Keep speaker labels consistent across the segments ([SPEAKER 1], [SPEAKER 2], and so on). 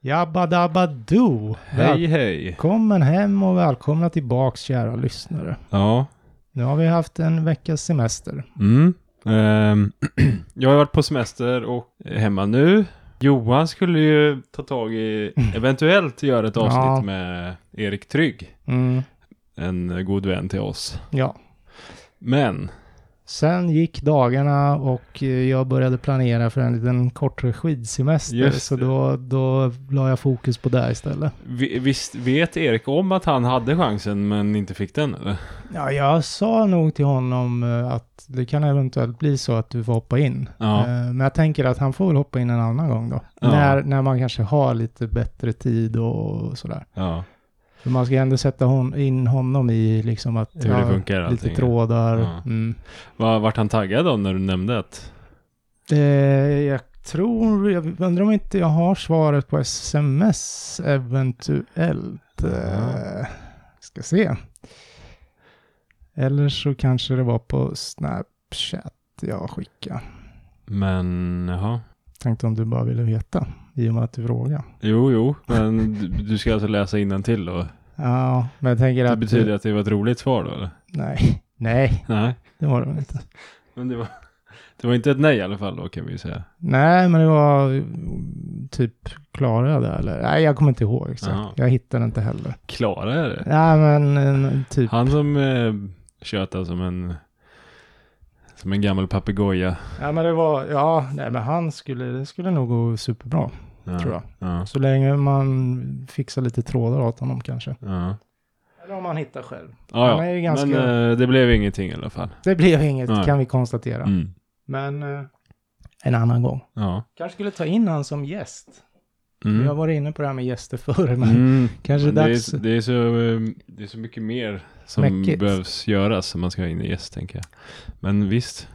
[SPEAKER 1] Jabba dabba do.
[SPEAKER 2] Hej, hej.
[SPEAKER 1] Välkommen hem och välkomna tillbaks kära lyssnare.
[SPEAKER 2] Ja.
[SPEAKER 1] Nu har vi haft en veckas semester.
[SPEAKER 2] Mm. Ehm, jag har varit på semester och är hemma nu. Johan skulle ju ta tag i, eventuellt göra ett avsnitt
[SPEAKER 1] Mm. Ja.
[SPEAKER 2] med Erik Trygg.
[SPEAKER 1] Mm,
[SPEAKER 2] En god vän till oss.
[SPEAKER 1] ja.
[SPEAKER 2] Men,
[SPEAKER 1] Sen gick dagarna och eh, jag började planera för en liten kortare skidsemester.
[SPEAKER 2] Just
[SPEAKER 1] så
[SPEAKER 2] det.
[SPEAKER 1] då, då la jag fokus på det istället.
[SPEAKER 2] vi- visst vet Erik om att han hade chansen men inte fick den eller?
[SPEAKER 1] Ja, jag sa nog till honom eh, att det kan eventuellt bli så att du får hoppa in.
[SPEAKER 2] Ja.
[SPEAKER 1] Eh, Men jag tänker att han får väl hoppa in en annan gång då.
[SPEAKER 2] Ja.
[SPEAKER 1] När, när man kanske har lite bättre tid och sådär.
[SPEAKER 2] Ja,
[SPEAKER 1] För man ska ändå sätta hon, in honom i liksom att...
[SPEAKER 2] hur det funkar allting.
[SPEAKER 1] Lite trådar.
[SPEAKER 2] Ja.
[SPEAKER 1] Mm.
[SPEAKER 2] Var, vart han taggad då när du nämnde att
[SPEAKER 1] Eh, jag tror, jag undrar om inte jag har svaret på sms eventuellt. Eh, ska se. Eller så kanske det var på Snapchat jag skickade.
[SPEAKER 2] Men, jaha.
[SPEAKER 1] Tänkte om du bara ville veta i och med att du frågade.
[SPEAKER 2] Jo, jo, men du, du ska alltså läsa innantill då?
[SPEAKER 1] Ja, men jag tänker
[SPEAKER 2] Det
[SPEAKER 1] att...
[SPEAKER 2] betyder att det var ett roligt svar då eller?
[SPEAKER 1] Nej, nej,
[SPEAKER 2] Nej,
[SPEAKER 1] det var det väl inte.
[SPEAKER 2] men det var, det var inte ett nej i alla fall då kan vi ju säga.
[SPEAKER 1] Nej, men det var mm, typ Klara där eller? Nej, jag kommer inte ihåg exakt.
[SPEAKER 2] Jaha.
[SPEAKER 1] Jag hittade inte heller.
[SPEAKER 2] Klara är det.
[SPEAKER 1] Nej, men eh, typ.
[SPEAKER 2] Han som eh, tjötar som en, som en gammal papegoja.
[SPEAKER 1] Ja men det var, ja, nej men han skulle, det skulle nog gå superbra,
[SPEAKER 2] Ja,
[SPEAKER 1] tror jag.
[SPEAKER 2] Ja,
[SPEAKER 1] Så länge man fixar lite trådar åt honom kanske.
[SPEAKER 2] ja.
[SPEAKER 1] Eller om han hittar själv.
[SPEAKER 2] Ja, ja.
[SPEAKER 1] Han är ju ganska-
[SPEAKER 2] Men eh, det blev ingenting i alla fall.
[SPEAKER 1] Det blev inget,
[SPEAKER 2] Nej.
[SPEAKER 1] kan vi konstatera.
[SPEAKER 2] Mm.
[SPEAKER 1] Men eh, en annan gång.
[SPEAKER 2] Ja.
[SPEAKER 1] Kanske skulle ta in han som gäst. Vi har
[SPEAKER 2] Mm.
[SPEAKER 1] varit inne på det här med gäster förr, men
[SPEAKER 2] Mm.
[SPEAKER 1] kanske
[SPEAKER 2] Men det,
[SPEAKER 1] dags.
[SPEAKER 2] är, det, är så, eh, det är så mycket mer som
[SPEAKER 1] Mäckigt.
[SPEAKER 2] behövs göras som man ska ha in i gäst, tänker jag. Men visst,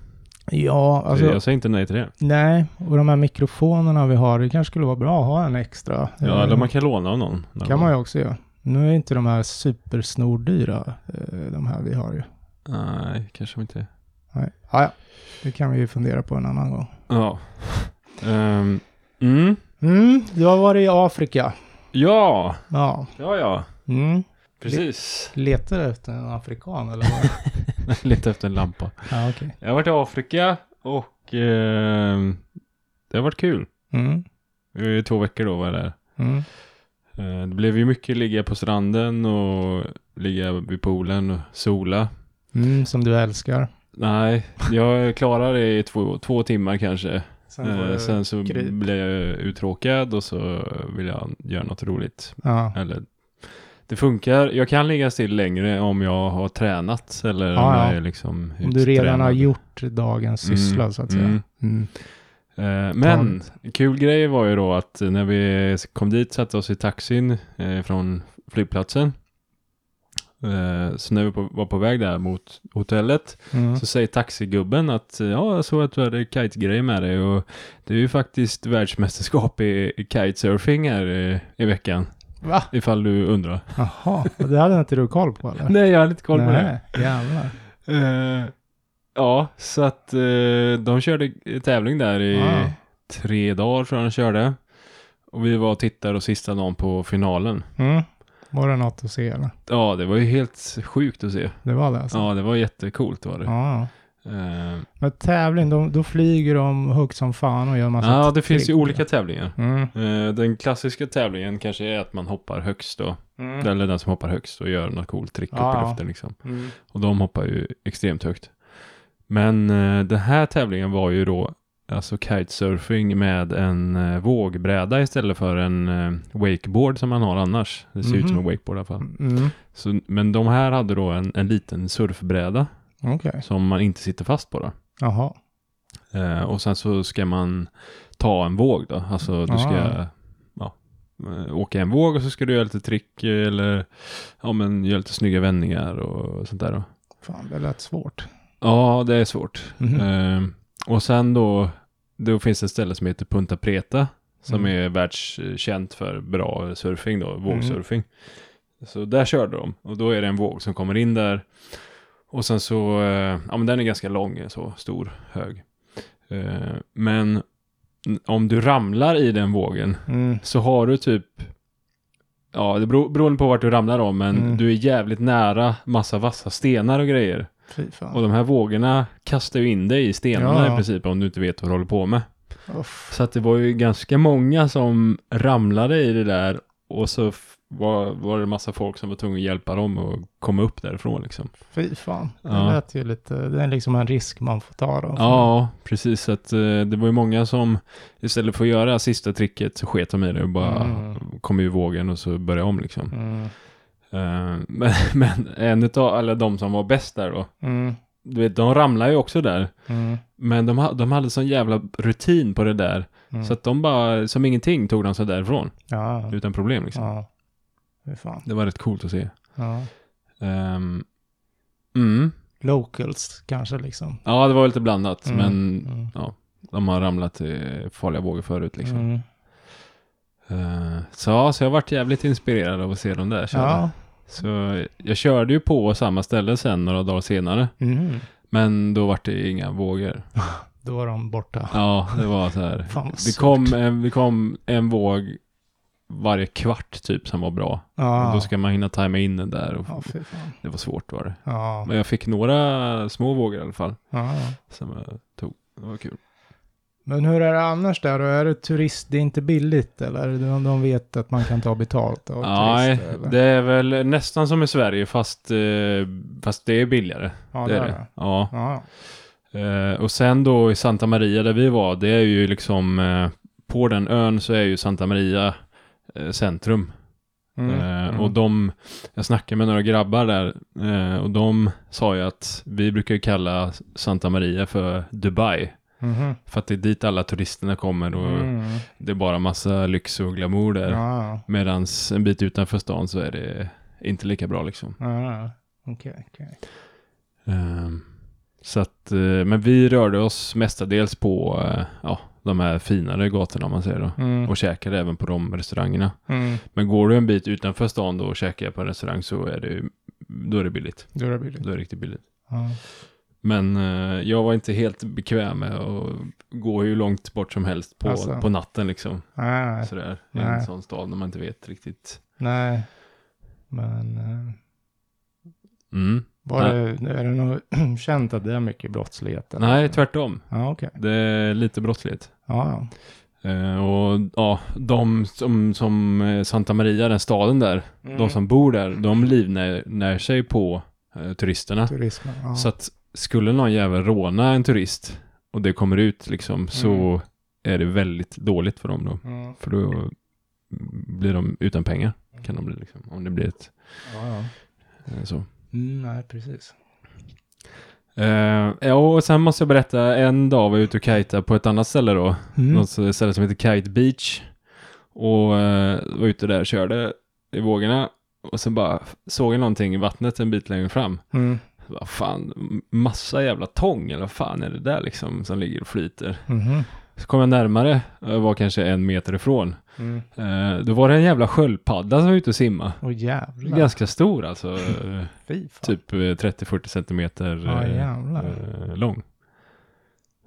[SPEAKER 1] Ja, alltså,
[SPEAKER 2] jag säger inte nej till det.
[SPEAKER 1] nej. Och de här mikrofonerna vi har, det kanske skulle vara bra att ha en extra.
[SPEAKER 2] Ja,
[SPEAKER 1] Eh,
[SPEAKER 2] eller man kan låna av någon.
[SPEAKER 1] kan man ju också göra. Nu är inte de här supersnordyra, eh, de här vi har ju.
[SPEAKER 2] Nej, kanske inte.
[SPEAKER 1] Nej. Ah, ja. Det kan vi ju fundera på en annan gång.
[SPEAKER 2] Ja. Ehm, mm.
[SPEAKER 1] Mm, du har varit i Afrika.
[SPEAKER 2] Ja,
[SPEAKER 1] Ja.
[SPEAKER 2] ja, ja.
[SPEAKER 1] Mm.
[SPEAKER 2] Precis.
[SPEAKER 1] Letar du efter en afrikan eller vad?
[SPEAKER 2] Leta efter en lampa.
[SPEAKER 1] ja, okej.
[SPEAKER 2] Jag har varit i Afrika och ehm, det har varit kul.
[SPEAKER 1] Mm.
[SPEAKER 2] Vi var ju två veckor då var jag där.
[SPEAKER 1] Mm.
[SPEAKER 2] Eh, Det blev ju mycket ligga på stranden och ligga vid poolen och sola.
[SPEAKER 1] Mm, som du älskar.
[SPEAKER 2] Nej, jag klarar det i två, två timmar kanske.
[SPEAKER 1] Sen får
[SPEAKER 2] Eh,
[SPEAKER 1] du-
[SPEAKER 2] sen så
[SPEAKER 1] kryp.
[SPEAKER 2] blev jag uttråkad och så vill jag göra något roligt.
[SPEAKER 1] Ja.
[SPEAKER 2] Eller, det funkar. Jag kan ligga still längre om jag har tränat eller om
[SPEAKER 1] Ja, ja.
[SPEAKER 2] jag är liksom
[SPEAKER 1] Om du redan har
[SPEAKER 2] uttränad.
[SPEAKER 1] gjort dagens syssla så att säga.
[SPEAKER 2] mm.
[SPEAKER 1] Mm.
[SPEAKER 2] Eh, Men en kul grej var ju då att när vi kom dit satte oss i taxin eh, från flygplatsen. Eh, Så när vi på- var på väg där mot hotellet
[SPEAKER 1] Mm.
[SPEAKER 2] så säger taxigubben att eh, ja, jag såg att du hade kitegrej med dig och det är ju faktiskt världsmästerskap i i kitesurfing här i, i veckan.
[SPEAKER 1] Va?
[SPEAKER 2] Ifall du undrar.
[SPEAKER 1] Jaha, och det hade inte du koll på eller?
[SPEAKER 2] Nej, jag hade inte koll på det.
[SPEAKER 1] Nej, jävlar.
[SPEAKER 2] Eh, ja, så att eh, de körde tävling där i
[SPEAKER 1] Ah.
[SPEAKER 2] tre dagar tror jag de körde. Och vi var och tittade och sista dagen på finalen.
[SPEAKER 1] Mm. Var det något att se eller?
[SPEAKER 2] Ja, det var ju helt sjukt att se.
[SPEAKER 1] Det var det alltså?
[SPEAKER 2] Ja, det var jättecoolt var det. Eh, Ja,
[SPEAKER 1] Ja. Men tävling, de, då flyger de högt som fan och gör massa
[SPEAKER 2] ja det finns ju
[SPEAKER 1] trick.
[SPEAKER 2] olika tävlingar.
[SPEAKER 1] Mm.
[SPEAKER 2] Eh, den klassiska tävlingen kanske är att man hoppar högst då.
[SPEAKER 1] Mm.
[SPEAKER 2] Eller den som hoppar högst och gör något coolt trick
[SPEAKER 1] Ja,
[SPEAKER 2] upp i
[SPEAKER 1] ja.
[SPEAKER 2] luften liksom.
[SPEAKER 1] Mm.
[SPEAKER 2] Och de hoppar ju extremt högt. Men eh, den här tävlingen var ju då alltså kitesurfing med en eh, vågbräda istället för en eh, wakeboard som man har annars. Det ser ut som en
[SPEAKER 1] Mhm.
[SPEAKER 2] wakeboard i alla fall.
[SPEAKER 1] Mm.
[SPEAKER 2] Så, men de här hade då en, en liten surfbräda
[SPEAKER 1] Okej.
[SPEAKER 2] som man inte sitter fast på då.
[SPEAKER 1] Jaha.
[SPEAKER 2] Eh, och sen så ska man ta en våg då. Alltså du ska
[SPEAKER 1] Ah.
[SPEAKER 2] eh, åka en våg och så ska du göra lite trick eh, eller ja, men göra lite snygga vändningar och sånt där. Då.
[SPEAKER 1] Fan, det lät svårt.
[SPEAKER 2] Ja, det är svårt.
[SPEAKER 1] Mhm.
[SPEAKER 2] Eh, och sen då, då finns det ett ställe som heter Punta Preta som
[SPEAKER 1] Mm.
[SPEAKER 2] är världskänt för bra surfing då, vågsurfing. Så där körde de och då är det en våg som kommer in där och sen så, eh, ja men den är ganska lång, så stor, hög. Eh, Men n- om du ramlar i den vågen
[SPEAKER 1] Mm.
[SPEAKER 2] så har du typ, ja det beror, beroende på vart du ramlar om, men
[SPEAKER 1] Mm.
[SPEAKER 2] du är jävligt nära massa vassa stenar och grejer.
[SPEAKER 1] Fy fan.
[SPEAKER 2] Och de här vågorna kastar ju in dig i stenarna
[SPEAKER 1] Ja, ja.
[SPEAKER 2] i princip om du inte vet vad du håller på med.
[SPEAKER 1] Uff.
[SPEAKER 2] Så att det var ju ganska många som ramlade i det där och så f- var, var det massa folk som var tvungna att hjälpa dem att komma upp därifrån liksom.
[SPEAKER 1] Fy fan. Det
[SPEAKER 2] Ja.
[SPEAKER 1] lät ju lite, det är liksom en risk man får ta då.
[SPEAKER 2] Ja, precis. Så Att, eh, det var ju många som istället för att göra sista tricket så sket de i det och bara
[SPEAKER 1] Mm.
[SPEAKER 2] kom ur vågen och så började om liksom.
[SPEAKER 1] Mm.
[SPEAKER 2] Eh, men, men en utav alla de som var bäst där då,
[SPEAKER 1] Mm.
[SPEAKER 2] du vet, de ramlade ju också där.
[SPEAKER 1] Mm.
[SPEAKER 2] Men de, ha- de hade sån jävla rutin på det där.
[SPEAKER 1] Mm.
[SPEAKER 2] Så att de bara, som ingenting, tog de sig därifrån.
[SPEAKER 1] ja.
[SPEAKER 2] Utan problem liksom.
[SPEAKER 1] ja. Fy fan.
[SPEAKER 2] Det var rätt coolt att se.
[SPEAKER 1] Ja.
[SPEAKER 2] Ehm, mm.
[SPEAKER 1] Locals kanske liksom.
[SPEAKER 2] Ja, det var lite blandat.
[SPEAKER 1] Mm.
[SPEAKER 2] Men
[SPEAKER 1] Mm.
[SPEAKER 2] de har ramlat i farliga vågor förut liksom.
[SPEAKER 1] Mm.
[SPEAKER 2] Eh, så, ja, så jag varit jävligt inspirerad av att se de där köra.
[SPEAKER 1] Ja.
[SPEAKER 2] Så jag körde ju på samma ställe sen några dagar senare.
[SPEAKER 1] Mm.
[SPEAKER 2] Men då var det inga vågor.
[SPEAKER 1] Då var de borta.
[SPEAKER 2] Ja, det var så här.
[SPEAKER 1] Fan vad
[SPEAKER 2] Det
[SPEAKER 1] surt.
[SPEAKER 2] kom, en, det kom en våg varje kvart typ som var bra.
[SPEAKER 1] Ja.
[SPEAKER 2] Och då ska man hinna tajma in den där. Och
[SPEAKER 1] Ja, fy fan.
[SPEAKER 2] Det var svårt var det.
[SPEAKER 1] Ja.
[SPEAKER 2] Men jag fick några små vågor i alla fall.
[SPEAKER 1] ja.
[SPEAKER 2] Som jag tog. Det var kul.
[SPEAKER 1] Men hur är det annars där då? Är det turist, det är inte billigt eller? De, de vet att man kan ta betalt av
[SPEAKER 2] Nej,
[SPEAKER 1] turister? eller?
[SPEAKER 2] det är väl nästan som i Sverige fast, eh, fast det är billigare.
[SPEAKER 1] ja,
[SPEAKER 2] det är
[SPEAKER 1] där,
[SPEAKER 2] det. Ja.
[SPEAKER 1] Ja.
[SPEAKER 2] Eh, och sen då i Santa Maria där vi var, det är ju liksom eh, på den ön så är ju Santa Maria eh, centrum.
[SPEAKER 1] Mm.
[SPEAKER 2] Eh,
[SPEAKER 1] Mm.
[SPEAKER 2] Och de, jag snackade med några grabbar där eh, och de sa ju att vi brukar ju kalla Santa Maria för Dubai.
[SPEAKER 1] Mhm.
[SPEAKER 2] För att det är dit alla turisterna kommer och
[SPEAKER 1] Mm.
[SPEAKER 2] det är bara massa lyx och glamour där.
[SPEAKER 1] Ja,
[SPEAKER 2] Medan en bit utanför stan så är det inte lika bra liksom.
[SPEAKER 1] ja, ja. Okej, okej.
[SPEAKER 2] Eh, Så att, eh, men vi rörde oss mestadels på eh, ja, de här finare gatorna om man säger då.
[SPEAKER 1] Mm.
[SPEAKER 2] Och käkade även på de restaurangerna.
[SPEAKER 1] Mm.
[SPEAKER 2] Men går du en bit utanför stan då och käkar på en restaurang så är det, ju- då är det billigt.
[SPEAKER 1] Då är det billigt.
[SPEAKER 2] Det är riktigt billigt.
[SPEAKER 1] Ja.
[SPEAKER 2] Men eh, jag var inte helt bekväm med att gå hur långt bort som helst på,
[SPEAKER 1] Alltså.
[SPEAKER 2] på natten liksom.
[SPEAKER 1] Nej,
[SPEAKER 2] Sådär. I
[SPEAKER 1] Nej.
[SPEAKER 2] en sån stad när man inte vet riktigt.
[SPEAKER 1] nej. Men eh,
[SPEAKER 2] Mm.
[SPEAKER 1] var det, är det nog känt att det är mycket brottslighet? eller?
[SPEAKER 2] Nej, tvärtom.
[SPEAKER 1] Ja, okej.
[SPEAKER 2] Det är lite brottslighet.
[SPEAKER 1] Ja, ja.
[SPEAKER 2] Eh, och ja, de som, som eh, Santa Maria, den staden där,
[SPEAKER 1] Mm.
[SPEAKER 2] de som bor där, de livnär när sig på eh, turisterna.
[SPEAKER 1] Turismen, ja.
[SPEAKER 2] Så att skulle någon jävel råna en turist och det kommer ut liksom så är det väldigt dåligt för dem då.
[SPEAKER 1] Mm.
[SPEAKER 2] För då blir de utan pengar. Kan de bli liksom, om det blir ett
[SPEAKER 1] Ja, ja.
[SPEAKER 2] eh, så.
[SPEAKER 1] Mm, nej, precis.
[SPEAKER 2] Eh, ja, och sen måste jag berätta, en dag var jag ute och kajtade på ett annat ställe då.
[SPEAKER 1] Mm.
[SPEAKER 2] Något så- ställe som heter Kite Beach. Och eh, var ute där och körde i vågorna. Och sen bara f- såg jag någonting i vattnet en bit längre fram.
[SPEAKER 1] Mm.
[SPEAKER 2] Vad fan, m- massa jävla tång eller vad fan är det där liksom som ligger och flyter?
[SPEAKER 1] Mhm.
[SPEAKER 2] Så kom jag närmare, jag var kanske en meter ifrån.
[SPEAKER 1] Mm.
[SPEAKER 2] Eh, då var det en jävla sköldpadda som var ute och simma.
[SPEAKER 1] Åh jävlar.
[SPEAKER 2] Ganska stor alltså, eh,
[SPEAKER 1] Fy fan.
[SPEAKER 2] typ eh, 30-40 centimeter
[SPEAKER 1] Ja
[SPEAKER 2] eh,
[SPEAKER 1] jävlar.
[SPEAKER 2] eh, lång.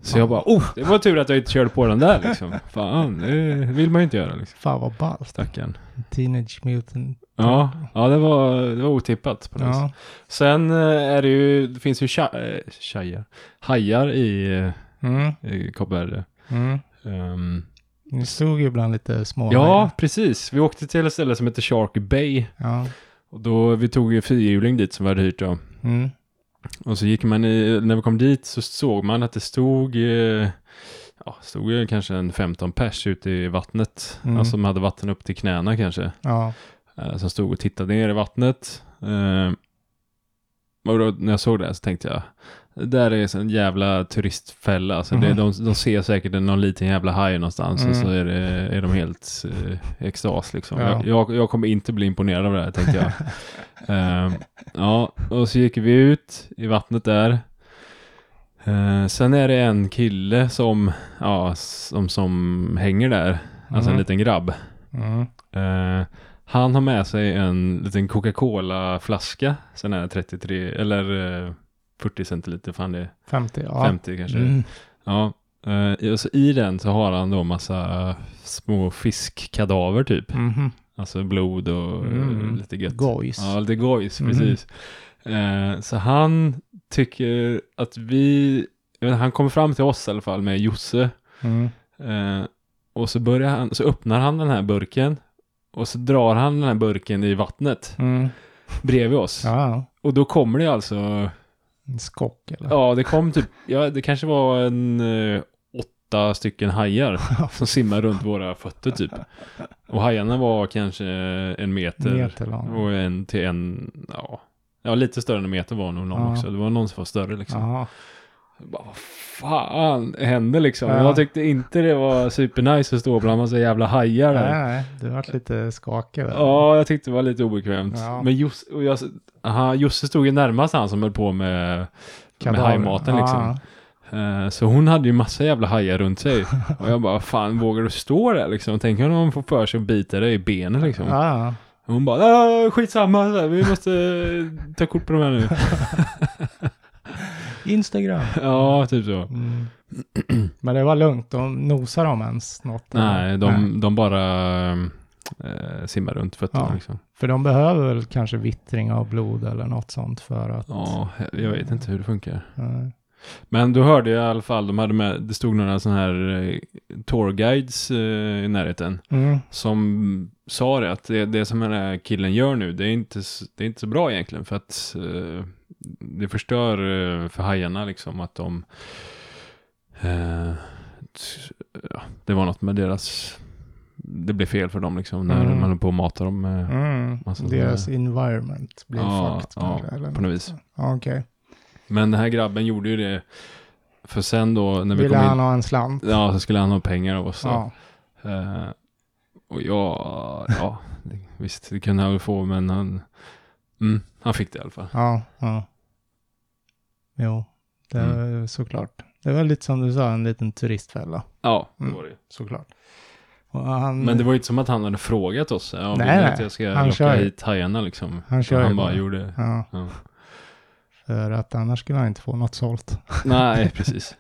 [SPEAKER 2] Så jag bara, oh, det var tur att jag inte körde på den där liksom. Fan, det vill man ju inte göra liksom.
[SPEAKER 1] Fan vad ballt.
[SPEAKER 2] Stackarn.
[SPEAKER 1] Teenage Mutant.
[SPEAKER 2] Ja, ja det, var, det var otippat på något sätt.
[SPEAKER 1] Ja.
[SPEAKER 2] Sen eh, är det ju, det finns ju tja- eh, tjejer, hajar i, eh,
[SPEAKER 1] Mm.
[SPEAKER 2] i Kapverde.
[SPEAKER 1] Mm.
[SPEAKER 2] Ehm,
[SPEAKER 1] Ni stod ju ibland lite små.
[SPEAKER 2] ja, precis. Vi åkte till ett ställe som heter Shark Bay.
[SPEAKER 1] Ja.
[SPEAKER 2] Och då, vi tog ju fyrhjuling dit som vi hade hyrt då.
[SPEAKER 1] Mm.
[SPEAKER 2] Och så gick man i, när vi kom dit så såg man att det stod, eh, ja, stod ju kanske en 15 pers ute i vattnet.
[SPEAKER 1] Mm.
[SPEAKER 2] Alltså de hade vatten upp till knäna kanske.
[SPEAKER 1] Ja.
[SPEAKER 2] Eh, som stod och tittade ner i vattnet. Eh, och då, när jag såg det här så tänkte jag, Det där är en sån jävla turistfälla. Alltså det,
[SPEAKER 1] Mhm.
[SPEAKER 2] de, de ser säkert någon liten jävla haj någonstans och
[SPEAKER 1] Mm.
[SPEAKER 2] så är, det, är de helt eh, extas liksom.
[SPEAKER 1] Ja.
[SPEAKER 2] Jag, jag, jag kommer inte bli imponerad av det här tänkte jag. Ehm, ja, och så gick vi ut i vattnet där. Eh, sen är det en kille som, ja, som, som hänger där. Alltså en
[SPEAKER 1] Mhm.
[SPEAKER 2] liten grabb.
[SPEAKER 1] Mm.
[SPEAKER 2] Eh, han har med sig en liten Coca-Cola-flaska. Sån här 33, eller eh, 40 centiliter, fan det är
[SPEAKER 1] 50, ja.
[SPEAKER 2] 50 kanske.
[SPEAKER 1] Mm.
[SPEAKER 2] Ja. Eh, och så I den så har han då massa små fiskkadaver typ.
[SPEAKER 1] Mhm.
[SPEAKER 2] Alltså blod och eh,
[SPEAKER 1] Mm.
[SPEAKER 2] lite gött.
[SPEAKER 1] Gojs.
[SPEAKER 2] Ja, lite gojs,
[SPEAKER 1] Mm.
[SPEAKER 2] precis. Eh, så han tycker att vi, jag vet, inte, han kommer fram till oss i alla fall med Josse.
[SPEAKER 1] Mm.
[SPEAKER 2] Eh, och så börjar han, så öppnar han den här burken. Och så drar han den här burken i vattnet
[SPEAKER 1] Mm.
[SPEAKER 2] bredvid oss.
[SPEAKER 1] Ja, ja.
[SPEAKER 2] Och då kommer det alltså,
[SPEAKER 1] En skock eller?
[SPEAKER 2] ja det kom typ, ja, det kanske var en eh, åtta stycken hajar som simmar runt våra fötter typ. Och hajarna var kanske en meter,
[SPEAKER 1] Meter lång.
[SPEAKER 2] och en till en, ja, ja lite större än en meter var nog någon
[SPEAKER 1] Ja.
[SPEAKER 2] också. Det var någon som var större liksom.
[SPEAKER 1] Jaha.
[SPEAKER 2] Jag bara, vad fan hände liksom?
[SPEAKER 1] Ja.
[SPEAKER 2] Jag tyckte inte det var supernice att stå bland massa jävla hajar där.
[SPEAKER 1] Nej, nej, du vart lite skakig där.
[SPEAKER 2] Ja, jag tyckte det var lite obekvämt.
[SPEAKER 1] Ja.
[SPEAKER 2] Men Josse, och jag, aha, Josse stod ju närmast han som höll på med, med
[SPEAKER 1] Kadaver.
[SPEAKER 2] hajmaten liksom.
[SPEAKER 1] Ja,
[SPEAKER 2] Eh, Så hon hade ju massa jävla hajar runt sig. Och jag bara, fan vågar du stå där liksom? Tänk om de får för sig att bita dig i benen liksom.
[SPEAKER 1] ja.
[SPEAKER 2] Och hon bara, "Ah, skitsamma, så här, vi måste eh, ta kort på de här nu.
[SPEAKER 1] Instagram.
[SPEAKER 2] ja, typ så.
[SPEAKER 1] Mm. Men det var lugnt, de nosade de ens något?
[SPEAKER 2] Nej, de,
[SPEAKER 1] Nej.
[SPEAKER 2] de bara eh, simmar runt fötterna
[SPEAKER 1] Ja.
[SPEAKER 2] liksom.
[SPEAKER 1] För de behöver väl kanske vittring av blod eller något sånt för att...
[SPEAKER 2] Ja, jag vet inte hur det funkar.
[SPEAKER 1] eh,
[SPEAKER 2] Men då hörde jag i alla fall, de hade med, det stod några sådana här eh, tourguides eh, i närheten
[SPEAKER 1] Mm.
[SPEAKER 2] som sa det att det, det som den här killen gör nu, det är inte, s- det är inte så bra egentligen för att eh, det förstör eh, för hajarna liksom att de eh, t- ja, det var något med deras det blev fel för dem liksom när
[SPEAKER 1] Mm.
[SPEAKER 2] man höll på och matar dem eh,
[SPEAKER 1] Mm.
[SPEAKER 2] Alltså,
[SPEAKER 1] Deras environment blir
[SPEAKER 2] Ja,
[SPEAKER 1] fucked.
[SPEAKER 2] ja,
[SPEAKER 1] kanske, eller?
[SPEAKER 2] på något vis.
[SPEAKER 1] Ja, okej.
[SPEAKER 2] Men den här grabben gjorde ju det för sen då när vi
[SPEAKER 1] Ville
[SPEAKER 2] kom
[SPEAKER 1] han
[SPEAKER 2] in,
[SPEAKER 1] ha en slant?
[SPEAKER 2] ja så skulle han ha pengar av oss då.
[SPEAKER 1] Ja.
[SPEAKER 2] Eh, och jag, ja, det- visst, det kunde han väl få, men han, mm, han fick det i alla fall.
[SPEAKER 1] Ja, ja. Jo, det är
[SPEAKER 2] Mm.
[SPEAKER 1] såklart. Det var lite som du sa, en liten turistfälla.
[SPEAKER 2] Ja, det
[SPEAKER 1] Mm.
[SPEAKER 2] var det.
[SPEAKER 1] Såklart. Och han,
[SPEAKER 2] Men det var ju inte som att han hade frågat oss, ja,
[SPEAKER 1] Nej,
[SPEAKER 2] nej, vill ni
[SPEAKER 1] nej.
[SPEAKER 2] att jag ska
[SPEAKER 1] Han
[SPEAKER 2] locka
[SPEAKER 1] kör ju.
[SPEAKER 2] hit hajarna liksom.
[SPEAKER 1] han kör ju
[SPEAKER 2] han bara gjorde,
[SPEAKER 1] Ja,
[SPEAKER 2] ja.
[SPEAKER 1] för att annars skulle han inte få något sålt.
[SPEAKER 2] nej, precis.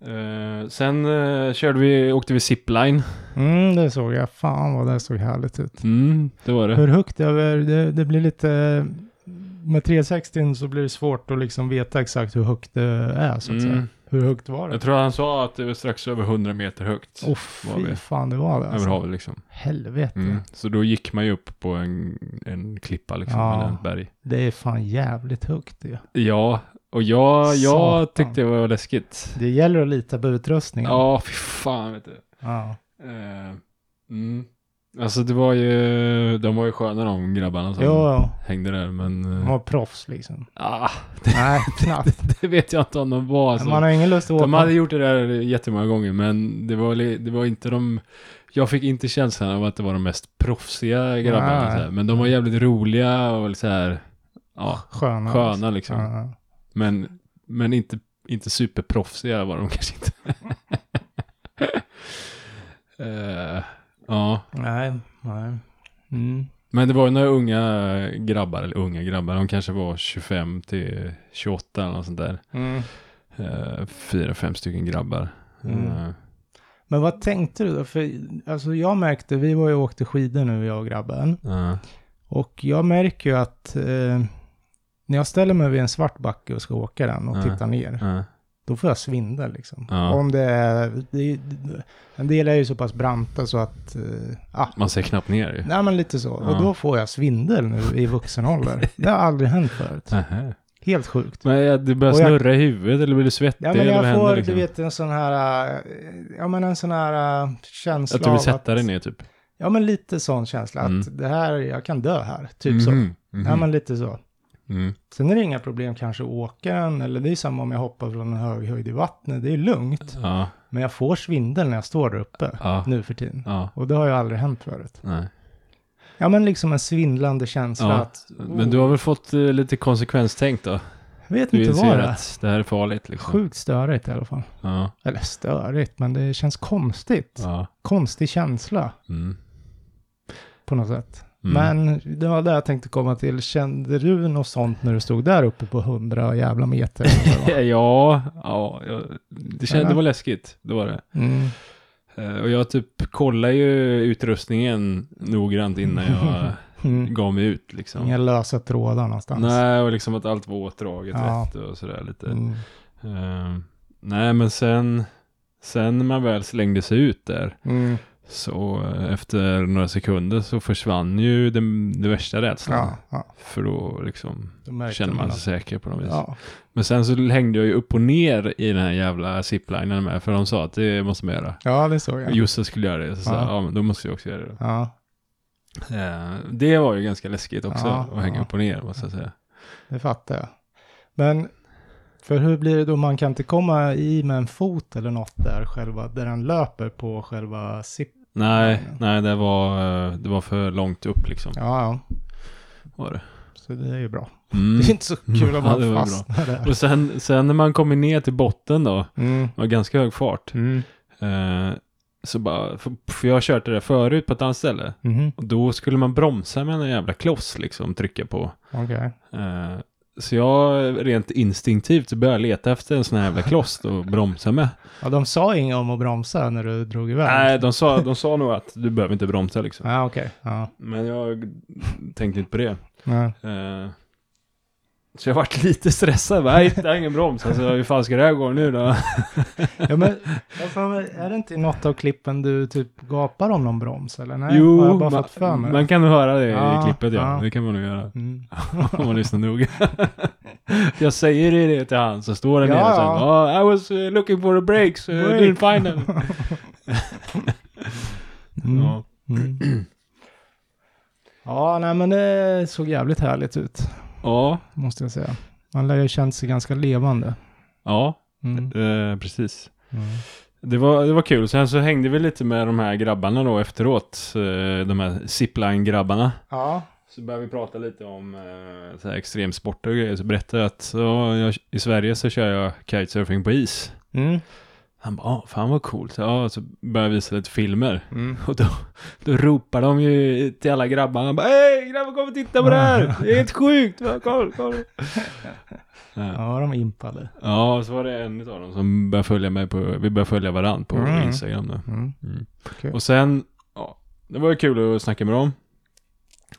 [SPEAKER 2] Eh, sen eh, körde vi, åkte vi zipline.
[SPEAKER 1] Mm, det såg jag. Fan vad det såg härligt ut.
[SPEAKER 2] Mm, det var det.
[SPEAKER 1] Hur högt över, det, det blir lite, med 360 så blir det svårt att liksom veta exakt hur högt det är så att säga.
[SPEAKER 2] Mm.
[SPEAKER 1] Hur högt var det?
[SPEAKER 2] Jag tror han sa att det var strax över 100 meter högt.
[SPEAKER 1] Åh
[SPEAKER 2] var
[SPEAKER 1] fy
[SPEAKER 2] vi.
[SPEAKER 1] fan det var det
[SPEAKER 2] Över
[SPEAKER 1] alltså.
[SPEAKER 2] havet liksom.
[SPEAKER 1] Helvete.
[SPEAKER 2] Mm. Så då gick man ju upp på en, en klippa liksom,
[SPEAKER 1] Ja.
[SPEAKER 2] eller ett berg.
[SPEAKER 1] Det är fan jävligt högt det.
[SPEAKER 2] Ja, och jag,
[SPEAKER 1] Satan.
[SPEAKER 2] jag tyckte det var läskigt.
[SPEAKER 1] Det gäller att lita på utrustningen.
[SPEAKER 2] Ja, fy fan vet du.
[SPEAKER 1] Ja.
[SPEAKER 2] Eh, mm. Alltså det var ju, de var ju sköna de grabbarna som
[SPEAKER 1] Jo,
[SPEAKER 2] hängde där men...
[SPEAKER 1] de
[SPEAKER 2] eh,
[SPEAKER 1] var proffs liksom.
[SPEAKER 2] ah,
[SPEAKER 1] Nej, knappt.
[SPEAKER 2] det vet jag inte om de var alltså.
[SPEAKER 1] Man har ingen lust att åka.
[SPEAKER 2] De hade gjort det där jättemånga gånger men det var, li- det var inte de... Jag fick inte känslan av att det var de mest proffsiga grabbarna
[SPEAKER 1] Nej.
[SPEAKER 2] så här. Men de var jävligt roliga och så här... Ja,
[SPEAKER 1] sköna.
[SPEAKER 2] sköna liksom.
[SPEAKER 1] Ja.
[SPEAKER 2] Men, men inte, inte superproffsiga var de kanske inte. Eh, ja,
[SPEAKER 1] Nej, nej. Mm.
[SPEAKER 2] men det var ju några unga grabbar, eller unga grabbar, de kanske var 25 till 28 eller något sånt där.
[SPEAKER 1] Mm.
[SPEAKER 2] Eh, Fyra, fem stycken grabbar.
[SPEAKER 1] Mm.
[SPEAKER 2] Eh,
[SPEAKER 1] Men vad tänkte du då? För alltså, jag märkte, vi var ju och åkte skidor nu jag och grabben.
[SPEAKER 2] ja.
[SPEAKER 1] Och jag märker ju att eh, när jag ställer mig vid en svart backe och ska åka den och
[SPEAKER 2] Ja.
[SPEAKER 1] tittar ner,
[SPEAKER 2] ja.
[SPEAKER 1] då får jag svindel liksom.
[SPEAKER 2] Ja.
[SPEAKER 1] Om det är, det är, en del är ju så pass branta så att, eh, ah,
[SPEAKER 2] Man ser knappt ner ju.
[SPEAKER 1] Nej men lite så.
[SPEAKER 2] Ja.
[SPEAKER 1] Och då får jag svindel nu i vuxen ålder. Det har aldrig hänt förut.
[SPEAKER 2] Nähä.
[SPEAKER 1] Helt sjukt.
[SPEAKER 2] Men eh, det börjar
[SPEAKER 1] Och jag-
[SPEAKER 2] snurra i huvudet eller blir du svettig?
[SPEAKER 1] Ja, men
[SPEAKER 2] eller vad
[SPEAKER 1] jag
[SPEAKER 2] händer,
[SPEAKER 1] får,
[SPEAKER 2] liksom?
[SPEAKER 1] du vet, en sån här, eh, ja men en sån här eh, känsla
[SPEAKER 2] Att du vill
[SPEAKER 1] av
[SPEAKER 2] sätta dig ner typ?
[SPEAKER 1] Ja men lite sån känsla,
[SPEAKER 2] Mm.
[SPEAKER 1] att det här, jag kan dö här, typ så.
[SPEAKER 2] Mhm, mhm.
[SPEAKER 1] Ja men lite så.
[SPEAKER 2] Mm.
[SPEAKER 1] Sen är det inga problem kanske att åka den, eller det är samma om jag hoppar från en hög höjd i vattnet, det är lugnt.
[SPEAKER 2] Ja,
[SPEAKER 1] Men jag får svindel när jag står där uppe
[SPEAKER 2] ja,
[SPEAKER 1] nu för tiden.
[SPEAKER 2] ja.
[SPEAKER 1] Och det har ju aldrig hänt förut.
[SPEAKER 2] Nej.
[SPEAKER 1] Ja, men liksom en svindlande känsla
[SPEAKER 2] Ja,
[SPEAKER 1] att... "Oh,
[SPEAKER 2] Men du har väl fått eh, lite konsekvenstänk då?
[SPEAKER 1] vet
[SPEAKER 2] Du
[SPEAKER 1] inte
[SPEAKER 2] inser
[SPEAKER 1] vad det är.
[SPEAKER 2] att det här är farligt liksom.
[SPEAKER 1] Sjukt störigt i alla fall.
[SPEAKER 2] Ja,
[SPEAKER 1] Eller störigt, men det känns konstigt.
[SPEAKER 2] ja.
[SPEAKER 1] Konstig känsla
[SPEAKER 2] Mm.
[SPEAKER 1] på något sätt.
[SPEAKER 2] Mm.
[SPEAKER 1] Men det var det jag tänkte komma till. Kände du något sånt när du stod där uppe på hundra jävla meter?
[SPEAKER 2] ja, ja, jag- det, kände, det var läskigt. Det var det.
[SPEAKER 1] Mm.
[SPEAKER 2] Eh, Och jag typ kollar ju utrustningen noggrant innan jag
[SPEAKER 1] Mm.
[SPEAKER 2] gav mig ut liksom.
[SPEAKER 1] Inga lösa trådar någonstans.
[SPEAKER 2] Nej, och liksom att allt var åtdraget
[SPEAKER 1] Ja.
[SPEAKER 2] rätt och sådär lite.
[SPEAKER 1] Mm.
[SPEAKER 2] Eh, nej, men sen, sen när man väl slängde sig ut där,
[SPEAKER 1] Mm.
[SPEAKER 2] så eh, efter några sekunder så försvann ju den, den värsta rädslan.
[SPEAKER 1] Ja, ja.
[SPEAKER 2] För då liksom
[SPEAKER 1] Då märkte
[SPEAKER 2] känner man
[SPEAKER 1] man
[SPEAKER 2] sig säker på något vis.
[SPEAKER 1] Ja.
[SPEAKER 2] Men sen så hängde jag ju upp och ner i den här jävla ziplinen med, för de sa att det måste man göra.
[SPEAKER 1] ja, det såg jag.
[SPEAKER 2] Josse skulle göra det, så sa
[SPEAKER 1] Ja.
[SPEAKER 2] jag, ja men då måste jag också göra det.
[SPEAKER 1] Ja,
[SPEAKER 2] Eh, det var ju ganska läskigt också
[SPEAKER 1] Ja,
[SPEAKER 2] att hänga
[SPEAKER 1] ja.
[SPEAKER 2] upp och ner måste jag säga.
[SPEAKER 1] det fattar jag. Men för hur blir det då? Man kan inte komma i med en fot eller något där själva, där den löper på själva zip.
[SPEAKER 2] Nej,
[SPEAKER 1] Ja.
[SPEAKER 2] nej det, var, eh, det var för långt upp liksom.
[SPEAKER 1] Ja, ja.
[SPEAKER 2] Var det.
[SPEAKER 1] Så det är ju bra.
[SPEAKER 2] Mm.
[SPEAKER 1] Det är inte så kul om
[SPEAKER 2] Ja,
[SPEAKER 1] man
[SPEAKER 2] det var bra.
[SPEAKER 1] fastnar där.
[SPEAKER 2] Och sen, sen när man kommer ner till botten då,
[SPEAKER 1] Mm.
[SPEAKER 2] det var ganska hög fart.
[SPEAKER 1] Mm.
[SPEAKER 2] Eh, så bara, för, för jag körde det förut på ett annat ställe.
[SPEAKER 1] Mhm.
[SPEAKER 2] Och då skulle man bromsa med en jävla kloss liksom, trycka på.
[SPEAKER 1] Okej.
[SPEAKER 2] Eh, så jag rent instinktivt började leta efter en sån här jävla kloss och bromsa med.
[SPEAKER 1] Ja, de sa inget om att bromsa när du drog iväg.
[SPEAKER 2] Nej, de sa, de sa nog att du behöver inte bromsa liksom.
[SPEAKER 1] Ja, okej. Ja.
[SPEAKER 2] Men jag tänkte inte på det.
[SPEAKER 1] Ja.
[SPEAKER 2] Eh, Så jag vart lite stressad. Nej, det är ingen broms. Alltså, hur fan ska det här gå nu då?
[SPEAKER 1] ja, men jag får mig- är det inte i något av klippen du typ gapar om någon broms eller? Nej, har jag bara fått för mig
[SPEAKER 2] man,
[SPEAKER 1] det?
[SPEAKER 2] man kan höra det
[SPEAKER 1] Ja,
[SPEAKER 2] i klippet ja.
[SPEAKER 1] ja.
[SPEAKER 2] Det kan man nog göra.
[SPEAKER 1] Mm.
[SPEAKER 2] Om man lyssnar noga. jag säger ju det till han som står där
[SPEAKER 1] Ja,
[SPEAKER 2] nere sen.
[SPEAKER 1] ja.
[SPEAKER 2] Oh, I was eh, looking for the brakes. Uh,
[SPEAKER 1] Break.
[SPEAKER 2] didn't find them.
[SPEAKER 1] Mm.
[SPEAKER 2] Ja.
[SPEAKER 1] Mm. Ja, nej men det såg jävligt härligt ut,
[SPEAKER 2] Ja,
[SPEAKER 1] måste jag säga. Man lär ju ha känt sig ganska levande.
[SPEAKER 2] ja
[SPEAKER 1] Mm.
[SPEAKER 2] eh, precis.
[SPEAKER 1] Mm.
[SPEAKER 2] Det var, det var kul. Sen så hängde vi lite med de här grabbarna då efteråt. eh, De här zipline-grabbarna.
[SPEAKER 1] Ja.
[SPEAKER 2] Så började vi prata lite om eh, så här extremsporter och grejer. Så berättade jag att ja, jag, i Sverige så kör jag kitesurfing på is.
[SPEAKER 1] Mm.
[SPEAKER 2] Han bara, "Ah, fan vad coolt. Ja, så började jag visa lite filmer.
[SPEAKER 1] Mm.
[SPEAKER 2] Och då, då ropar de ju till alla grabbarna. bara, Hej grabbar kom och titta på det här! Det är helt sjukt! Va, Kolla, kolla! Ja.
[SPEAKER 1] Ja, de är impade.
[SPEAKER 2] Ja, och så var det en av dem som började följa mig på, vi började följa varandra på
[SPEAKER 1] Mm.
[SPEAKER 2] Instagram nu.
[SPEAKER 1] Mm. Okej.
[SPEAKER 2] Och sen, ja, det var ju kul att snacka med dem.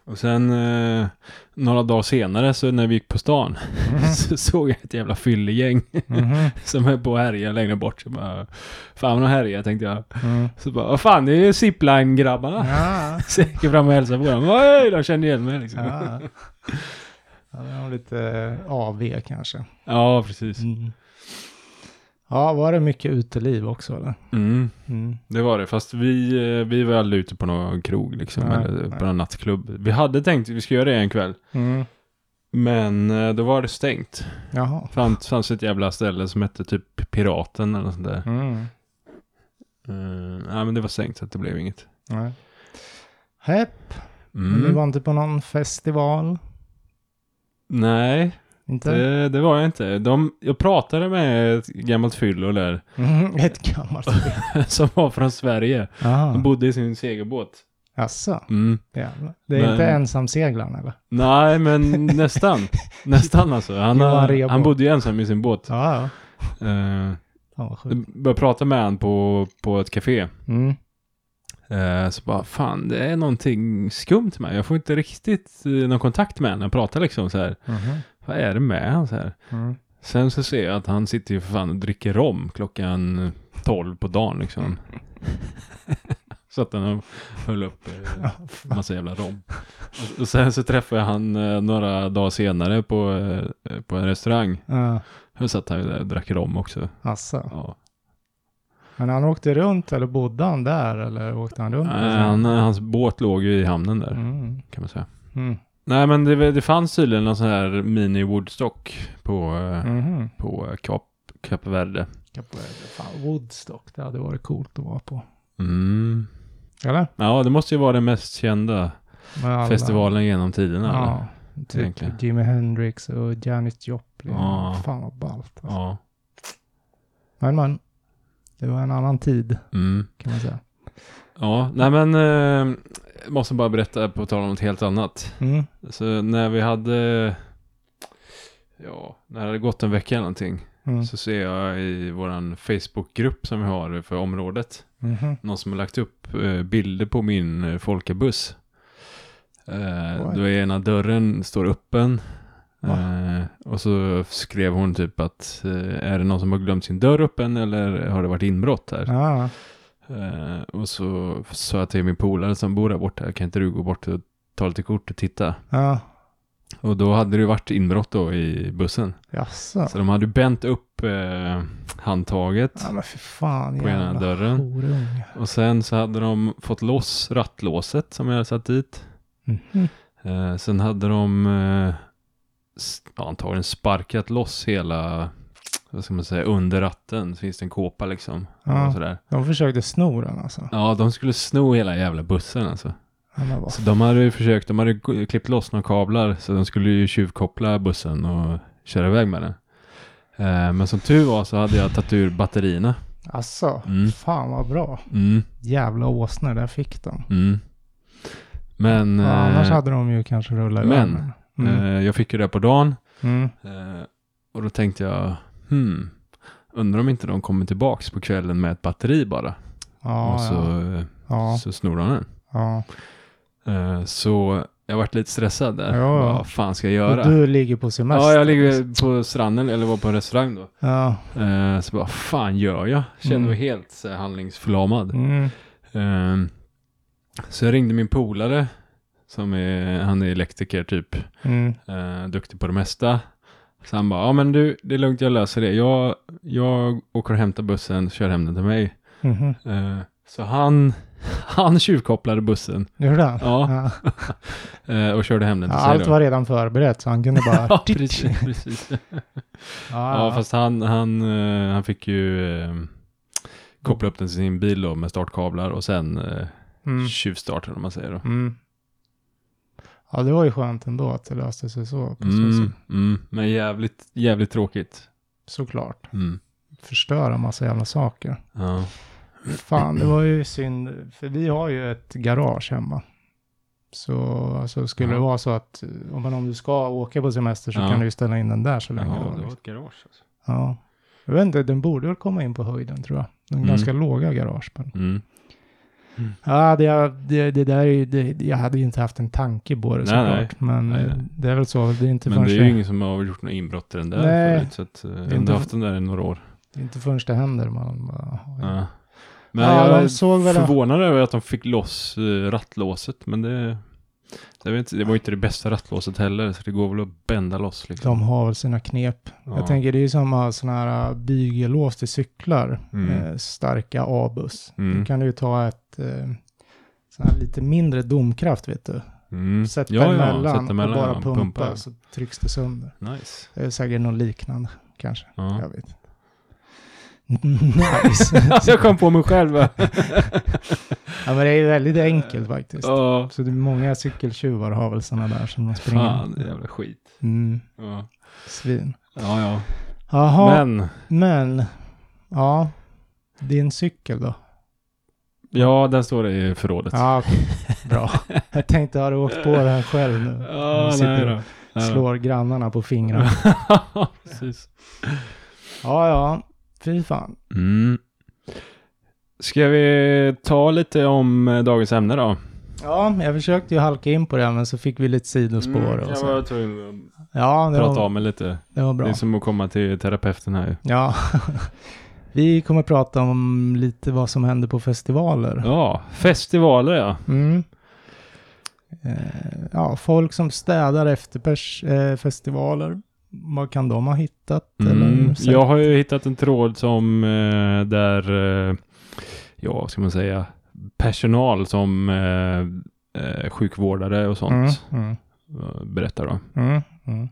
[SPEAKER 2] Och sen eh, några dagar senare så när vi gick på stan
[SPEAKER 1] Mm.
[SPEAKER 2] så såg jag ett jävla fyllegäng
[SPEAKER 1] Mhm.
[SPEAKER 2] som höll på och härja längre bort. Så bara, fan vad härja tänkte jag.
[SPEAKER 1] Mm.
[SPEAKER 2] Så bara, vad fan det är ju zipline-grabbarna.
[SPEAKER 1] Ja.
[SPEAKER 2] Så jag gick fram och hälsade på dem. Oj, de kände igen mig liksom. Ja,
[SPEAKER 1] Ja. Ja, de har lite AV kanske.
[SPEAKER 2] precis.
[SPEAKER 1] Mm. Ja, var det mycket uteliv också eller?
[SPEAKER 2] Mm,
[SPEAKER 1] Mm.
[SPEAKER 2] det var det. Fast vi, eh, vi var aldrig ute på någon krog liksom.
[SPEAKER 1] Nej,
[SPEAKER 2] eller
[SPEAKER 1] nej.
[SPEAKER 2] på någon nattklubb. Vi hade tänkt att vi skulle göra det en kväll.
[SPEAKER 1] Mm.
[SPEAKER 2] Men eh, då var det stängt.
[SPEAKER 1] Jaha.
[SPEAKER 2] fanns, fanns ett jävla ställe som hette typ Piraten eller något sånt där.
[SPEAKER 1] Mm.
[SPEAKER 2] Eh, nej men det var sänkt så att det blev inget.
[SPEAKER 1] Nej. Hepp, men du
[SPEAKER 2] Mm.
[SPEAKER 1] var inte på någon festival?
[SPEAKER 2] Nej,
[SPEAKER 1] Inte?
[SPEAKER 2] det, det var jag inte. De, jag pratade med ett gammalt fyllo där
[SPEAKER 1] Mm, ett gammalt spel.
[SPEAKER 2] som var från Sverige. De
[SPEAKER 1] Jaha.
[SPEAKER 2] bodde i sin segelbåt.
[SPEAKER 1] Jaså?
[SPEAKER 2] Mm.
[SPEAKER 1] Jävlar. Det är
[SPEAKER 2] Men-
[SPEAKER 1] inte ensamseglaren eller?
[SPEAKER 2] Nej, men nästan. nästan alltså. Han,
[SPEAKER 1] Johan
[SPEAKER 2] har-
[SPEAKER 1] Rheborg.
[SPEAKER 2] han bodde ju ensam i sin båt.
[SPEAKER 1] Ja, ja.
[SPEAKER 2] Eh,
[SPEAKER 1] Fan vad sjukt.
[SPEAKER 2] jag började prata med han på, på ett café.
[SPEAKER 1] Mm.
[SPEAKER 2] Eh, så bara, fan det är någonting skumt med Jag får inte riktigt eh, någon kontakt med honom. Jag pratar liksom så här.
[SPEAKER 1] Mhm.
[SPEAKER 2] Vad är det med han så här?
[SPEAKER 1] Mm.
[SPEAKER 2] Sen så ser jag att han sitter ju för fan och dricker rom klockan 12 på dagen liksom. så att han höll upp eh, massa jävla rom. Och- Och sen så träffade jag han eh, några dagar senare på, eh, på en restaurang.
[SPEAKER 1] Ja,
[SPEAKER 2] Då satt han ju där och drack rom också.
[SPEAKER 1] jaså.
[SPEAKER 2] Ja.
[SPEAKER 1] Men han åkte runt eller bodde han där eller åkte han runt?
[SPEAKER 2] Eh, Han, hans båt låg ju i hamnen där
[SPEAKER 1] Mm.
[SPEAKER 2] kan man säga.
[SPEAKER 1] Mm.
[SPEAKER 2] Nej men det, det fanns tydligen någon sån här mini Woodstock på, eh,
[SPEAKER 1] Mhm.
[SPEAKER 2] på eh, Kap, Kap Verde.
[SPEAKER 1] Capo Verde. Fan, Woodstock, det hade varit coolt att vara på.
[SPEAKER 2] Mm.
[SPEAKER 1] Eller?
[SPEAKER 2] Ja, det måste ju vara den mest kända
[SPEAKER 1] Med alla-
[SPEAKER 2] festivalen genom tiderna. eller?
[SPEAKER 1] Ja,
[SPEAKER 2] egentligen.
[SPEAKER 1] typ Jimi Hendrix och Janis Joplin.
[SPEAKER 2] Ja.
[SPEAKER 1] Fan vad ballt. Alltså.
[SPEAKER 2] ja.
[SPEAKER 1] Men man, det var en annan tid
[SPEAKER 2] Mm.
[SPEAKER 1] kan man säga.
[SPEAKER 2] Ja, nej men eh, måste bara berätta på tal om något helt annat.
[SPEAKER 1] Mm.
[SPEAKER 2] Så när vi hade, ja, när det hade gått en vecka eller någonting,
[SPEAKER 1] Mm.
[SPEAKER 2] så ser jag i våran Facebookgrupp som vi har för området,
[SPEAKER 1] Mhm.
[SPEAKER 2] någon som har lagt upp eh, bilder på min eh, folkabuss. Eh,
[SPEAKER 1] Oj.
[SPEAKER 2] då är ena dörren står öppen.
[SPEAKER 1] Va?
[SPEAKER 2] Eh, och så skrev hon typ att eh, är det någon som har glömt sin dörr öppen eller har det varit inbrott här?
[SPEAKER 1] Ja,
[SPEAKER 2] Eh, och så sa jag till min polare som bor där borta, kan inte du gå bort och ta lite kort och titta?
[SPEAKER 1] ja.
[SPEAKER 2] Och då hade det ju varit inbrott då i bussen.
[SPEAKER 1] Jaså?
[SPEAKER 2] Så de hade ju bänt upp eh, handtaget
[SPEAKER 1] Ja men för fan
[SPEAKER 2] på ena
[SPEAKER 1] jävla
[SPEAKER 2] dörren.
[SPEAKER 1] horunge.
[SPEAKER 2] Och sen så hade de fått loss rattlåset som jag hade satt dit.
[SPEAKER 1] Mhm.
[SPEAKER 2] Eh, sen hade de eh, s- ja, antagligen sparkat loss hela, vad ska man säga, under ratten. Så finns det en kåpa liksom.
[SPEAKER 1] Ja.
[SPEAKER 2] Och sådär.
[SPEAKER 1] De försökte sno den alltså.
[SPEAKER 2] Ja, de skulle sno hela jävla bussen alltså.
[SPEAKER 1] Ja, men vad
[SPEAKER 2] Så de hade ju försökt, de hade ju klippt loss några kablar så de skulle ju tjuvkoppla bussen och köra iväg med den. Eh, Men som tur var så hade jag tagit ur batterierna.
[SPEAKER 1] Alltså,
[SPEAKER 2] Mm.
[SPEAKER 1] fan vad bra.
[SPEAKER 2] Mm,
[SPEAKER 1] Jävla åsnor, där fick de.
[SPEAKER 2] mm. Men,
[SPEAKER 1] Ja, annars
[SPEAKER 2] eh,
[SPEAKER 1] hade de ju kanske rullat iväg
[SPEAKER 2] men,
[SPEAKER 1] med den. Mm.
[SPEAKER 2] eh, jag fick ju det på dagen
[SPEAKER 1] Mm.
[SPEAKER 2] eh, och då tänkte jag, hmm, undrar om inte de kommer tillbaks på kvällen med ett batteri bara.
[SPEAKER 1] Ja,
[SPEAKER 2] och så,
[SPEAKER 1] ja.
[SPEAKER 2] eh,
[SPEAKER 1] Ja,
[SPEAKER 2] så snor de den.
[SPEAKER 1] ja.
[SPEAKER 2] Eh, Så jag varit lite stressad där.
[SPEAKER 1] Ja, ja.
[SPEAKER 2] Vad fan ska jag
[SPEAKER 1] Och
[SPEAKER 2] göra?
[SPEAKER 1] du ligger på semester.
[SPEAKER 2] Ja, jag ligger på stranden eller var på en restaurang då.
[SPEAKER 1] Ja.
[SPEAKER 2] Eh, så bara, fan gör jag? Känner mig helt så här, handlingsförlamad.
[SPEAKER 1] Mm.
[SPEAKER 2] Eh, så jag ringde min polare, som är, han är elektriker typ,
[SPEAKER 1] Mm.
[SPEAKER 2] eh, duktig på det mesta. Så han bara, ja men du, det är lugnt, jag löser det. Jag, jag åker och hämtar bussen, kör hem den till mig.
[SPEAKER 1] Mhm.
[SPEAKER 2] Eh, så han, han tjuvkopplade bussen
[SPEAKER 1] Gjorde han?
[SPEAKER 2] Ja, eh, och körde hem den till
[SPEAKER 1] Ja,
[SPEAKER 2] sig
[SPEAKER 1] allt
[SPEAKER 2] då.
[SPEAKER 1] var redan förberett så han kunde bara...
[SPEAKER 2] Ja, precis. precis. Ja, fast han, han, eh, han fick ju eh, koppla upp den till sin bil då med startkablar och sen eh,
[SPEAKER 1] Mm.
[SPEAKER 2] tjuvstarten om man säger då.
[SPEAKER 1] Mm. Ja, det var ju skönt ändå att det löste sig så. på så
[SPEAKER 2] Mm,
[SPEAKER 1] sätt.
[SPEAKER 2] mm, men jävligt, jävligt tråkigt.
[SPEAKER 1] Såklart.
[SPEAKER 2] Mm.
[SPEAKER 1] Förstöra massa jävla saker.
[SPEAKER 2] Ja.
[SPEAKER 1] Fan, det var ju synd. För vi har ju ett garage hemma. Så alltså, skulle det
[SPEAKER 2] Ja.
[SPEAKER 1] vara så att om, men om du ska åka på semester så
[SPEAKER 2] Ja.
[SPEAKER 1] kan du ju ställa in den där så länge. då,
[SPEAKER 2] Ja, det var
[SPEAKER 1] liksom.
[SPEAKER 2] ett garage. Alltså.
[SPEAKER 1] ja. Jag vet inte, den borde väl komma in på höjden tror jag. De
[SPEAKER 2] Mm.
[SPEAKER 1] ganska låga garage. Men...
[SPEAKER 2] Mm.
[SPEAKER 1] Ja, det, det, det där är ju, det, jag hade ju inte haft en tanke på det
[SPEAKER 2] Nej,
[SPEAKER 1] såklart. Men
[SPEAKER 2] Nej,
[SPEAKER 1] eh,
[SPEAKER 2] nej.
[SPEAKER 1] det är väl så, det är inte
[SPEAKER 2] Men
[SPEAKER 1] förrän
[SPEAKER 2] det är
[SPEAKER 1] det,
[SPEAKER 2] ju ingen som har gjort något inbrott i den där
[SPEAKER 1] Nej.
[SPEAKER 2] förut. Så att, eh, jag har
[SPEAKER 1] inte-
[SPEAKER 2] inte haft den där i några år.
[SPEAKER 1] det är inte förrän det händer man bara, jaha, ja.
[SPEAKER 2] Ja. Men
[SPEAKER 1] Ja,
[SPEAKER 2] jag
[SPEAKER 1] de såg
[SPEAKER 2] är
[SPEAKER 1] väl-
[SPEAKER 2] förvånad över att de fick loss eh, rattlåset. Men det, jag vet, inte, det var ju inte det bästa rattlåset heller. Så det går väl att bända loss liksom.
[SPEAKER 1] De har väl sina knep.
[SPEAKER 2] Ja.
[SPEAKER 1] Jag tänker det är ju samma sådana här bygellås till cyklar.
[SPEAKER 2] Mm.
[SPEAKER 1] Eh, starka A-buss.
[SPEAKER 2] Mm.
[SPEAKER 1] Då kan du ju ta ett eh, sån här lite mindre domkraft vet du.
[SPEAKER 2] Mm.
[SPEAKER 1] Sätta
[SPEAKER 2] Ja, ja,
[SPEAKER 1] emellan
[SPEAKER 2] sätta emellan,
[SPEAKER 1] och bara
[SPEAKER 2] ja,
[SPEAKER 1] pumpa,
[SPEAKER 2] pumpa.
[SPEAKER 1] så trycks det sönder.
[SPEAKER 2] Nice.
[SPEAKER 1] Det är säkert något liknande kanske.
[SPEAKER 2] Ja.
[SPEAKER 1] Jag vet inte. Nice.
[SPEAKER 2] jag kom på mig själv.
[SPEAKER 1] ja, men det är ju väldigt enkelt faktiskt.
[SPEAKER 2] Ja.
[SPEAKER 1] Så det är många cykeltjuvar har väl sådana där som de springer.
[SPEAKER 2] Fan, det är jävla skit.
[SPEAKER 1] Mm,
[SPEAKER 2] Ja,
[SPEAKER 1] svin.
[SPEAKER 2] ja. ja.
[SPEAKER 1] Jaha.
[SPEAKER 2] Men,
[SPEAKER 1] Men, ja, din cykel då?
[SPEAKER 2] ja, den står i förrådet.
[SPEAKER 1] Ja, okej. bra. Jag tänkte, har du åkt på det här själv nu?
[SPEAKER 2] Ja,
[SPEAKER 1] Du
[SPEAKER 2] nej
[SPEAKER 1] sitter
[SPEAKER 2] då.
[SPEAKER 1] och
[SPEAKER 2] Nej då.
[SPEAKER 1] slår grannarna på fingrarna.
[SPEAKER 2] Precis.
[SPEAKER 1] Ja, ja, fy fan.
[SPEAKER 2] Mm. Ska vi ta lite om eh, dagens ämne
[SPEAKER 1] Mm,
[SPEAKER 2] då?
[SPEAKER 1] Ja, jag försökte ju halka in på det, men så fick vi lite sidospår och
[SPEAKER 2] Mm, jag
[SPEAKER 1] så.
[SPEAKER 2] var tvungen
[SPEAKER 1] Ja,
[SPEAKER 2] att
[SPEAKER 1] det
[SPEAKER 2] prata
[SPEAKER 1] var,
[SPEAKER 2] om mig lite.
[SPEAKER 1] det var
[SPEAKER 2] Det är
[SPEAKER 1] bra.
[SPEAKER 2] som att komma till terapeuten här. ju.
[SPEAKER 1] Ja. Vi kommer prata om lite vad som händer på festivaler.
[SPEAKER 2] Ja, festivaler ja.
[SPEAKER 1] Mm. Eh, ja, folk som städar efter pers, eh, festivaler. Vad kan de ha hittat?
[SPEAKER 2] Mm.
[SPEAKER 1] Eller sett?
[SPEAKER 2] Jag har ju hittat en tråd som eh, där, eh, ja vad ska man säga, personal som eh, eh, sjukvårdare och sånt
[SPEAKER 1] Mm, mm.
[SPEAKER 2] eh, berättar då.
[SPEAKER 1] Mm, mm.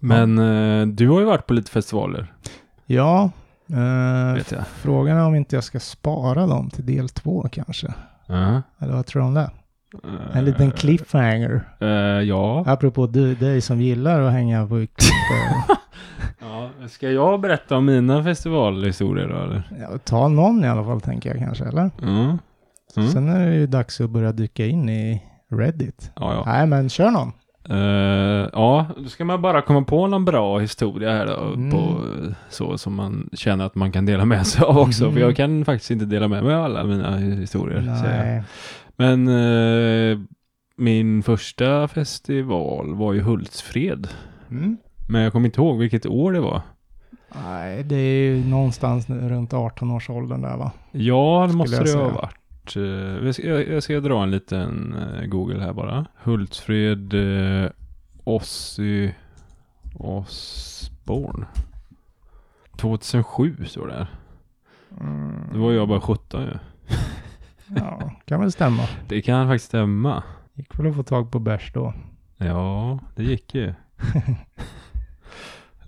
[SPEAKER 2] Men eh, du har ju varit på lite festivaler,
[SPEAKER 1] Ja, eh,
[SPEAKER 2] vet jag.
[SPEAKER 1] frågan är om inte jag ska spara dem till del två kanske.
[SPEAKER 2] Ja.
[SPEAKER 1] Eller vad tror du om det?
[SPEAKER 2] Eh,
[SPEAKER 1] En liten cliffhanger.
[SPEAKER 2] eh, ja.
[SPEAKER 1] Apropå du, dig som gillar att hänga på klipp.
[SPEAKER 2] ja. Ska jag berätta om mina festivalhistorier då eller?
[SPEAKER 1] ja, ta någon i alla fall tänker jag kanske, eller?
[SPEAKER 2] Mm. Mm.
[SPEAKER 1] Sen är det ju dags att börja dyka in i Reddit.
[SPEAKER 2] Ja, ja.
[SPEAKER 1] Nej, men kör någon.
[SPEAKER 2] Eh, ja, då ska man bara komma på någon bra historia här då,
[SPEAKER 1] Mm.
[SPEAKER 2] på, eh, så som man känner att man kan dela med sig av
[SPEAKER 1] Mm.
[SPEAKER 2] också. För jag kan faktiskt inte dela med mig av alla mina historier. säger jag.
[SPEAKER 1] Nej.
[SPEAKER 2] Men eh, min första festival var ju Hultsfred.
[SPEAKER 1] Mm.
[SPEAKER 2] Men jag kommer inte ihåg vilket år det var.
[SPEAKER 1] Nej, det är ju någonstans nu runt 18-årsåldern där va?
[SPEAKER 2] Ja, det måste
[SPEAKER 1] jag
[SPEAKER 2] det ha
[SPEAKER 1] säga.
[SPEAKER 2] varit. Eh, jag, ska, jag, jag ska dra en liten eh, Google här bara. Hultsfred eh, Ozzy Osbourne. 2007 står det här.
[SPEAKER 1] Mm.
[SPEAKER 2] Då var jag bara 17 ju.
[SPEAKER 1] Ja, kan väl stämma.
[SPEAKER 2] Det kan faktiskt stämma.
[SPEAKER 1] Gick väl att få tag på bärs då.
[SPEAKER 2] Ja, det gick ju.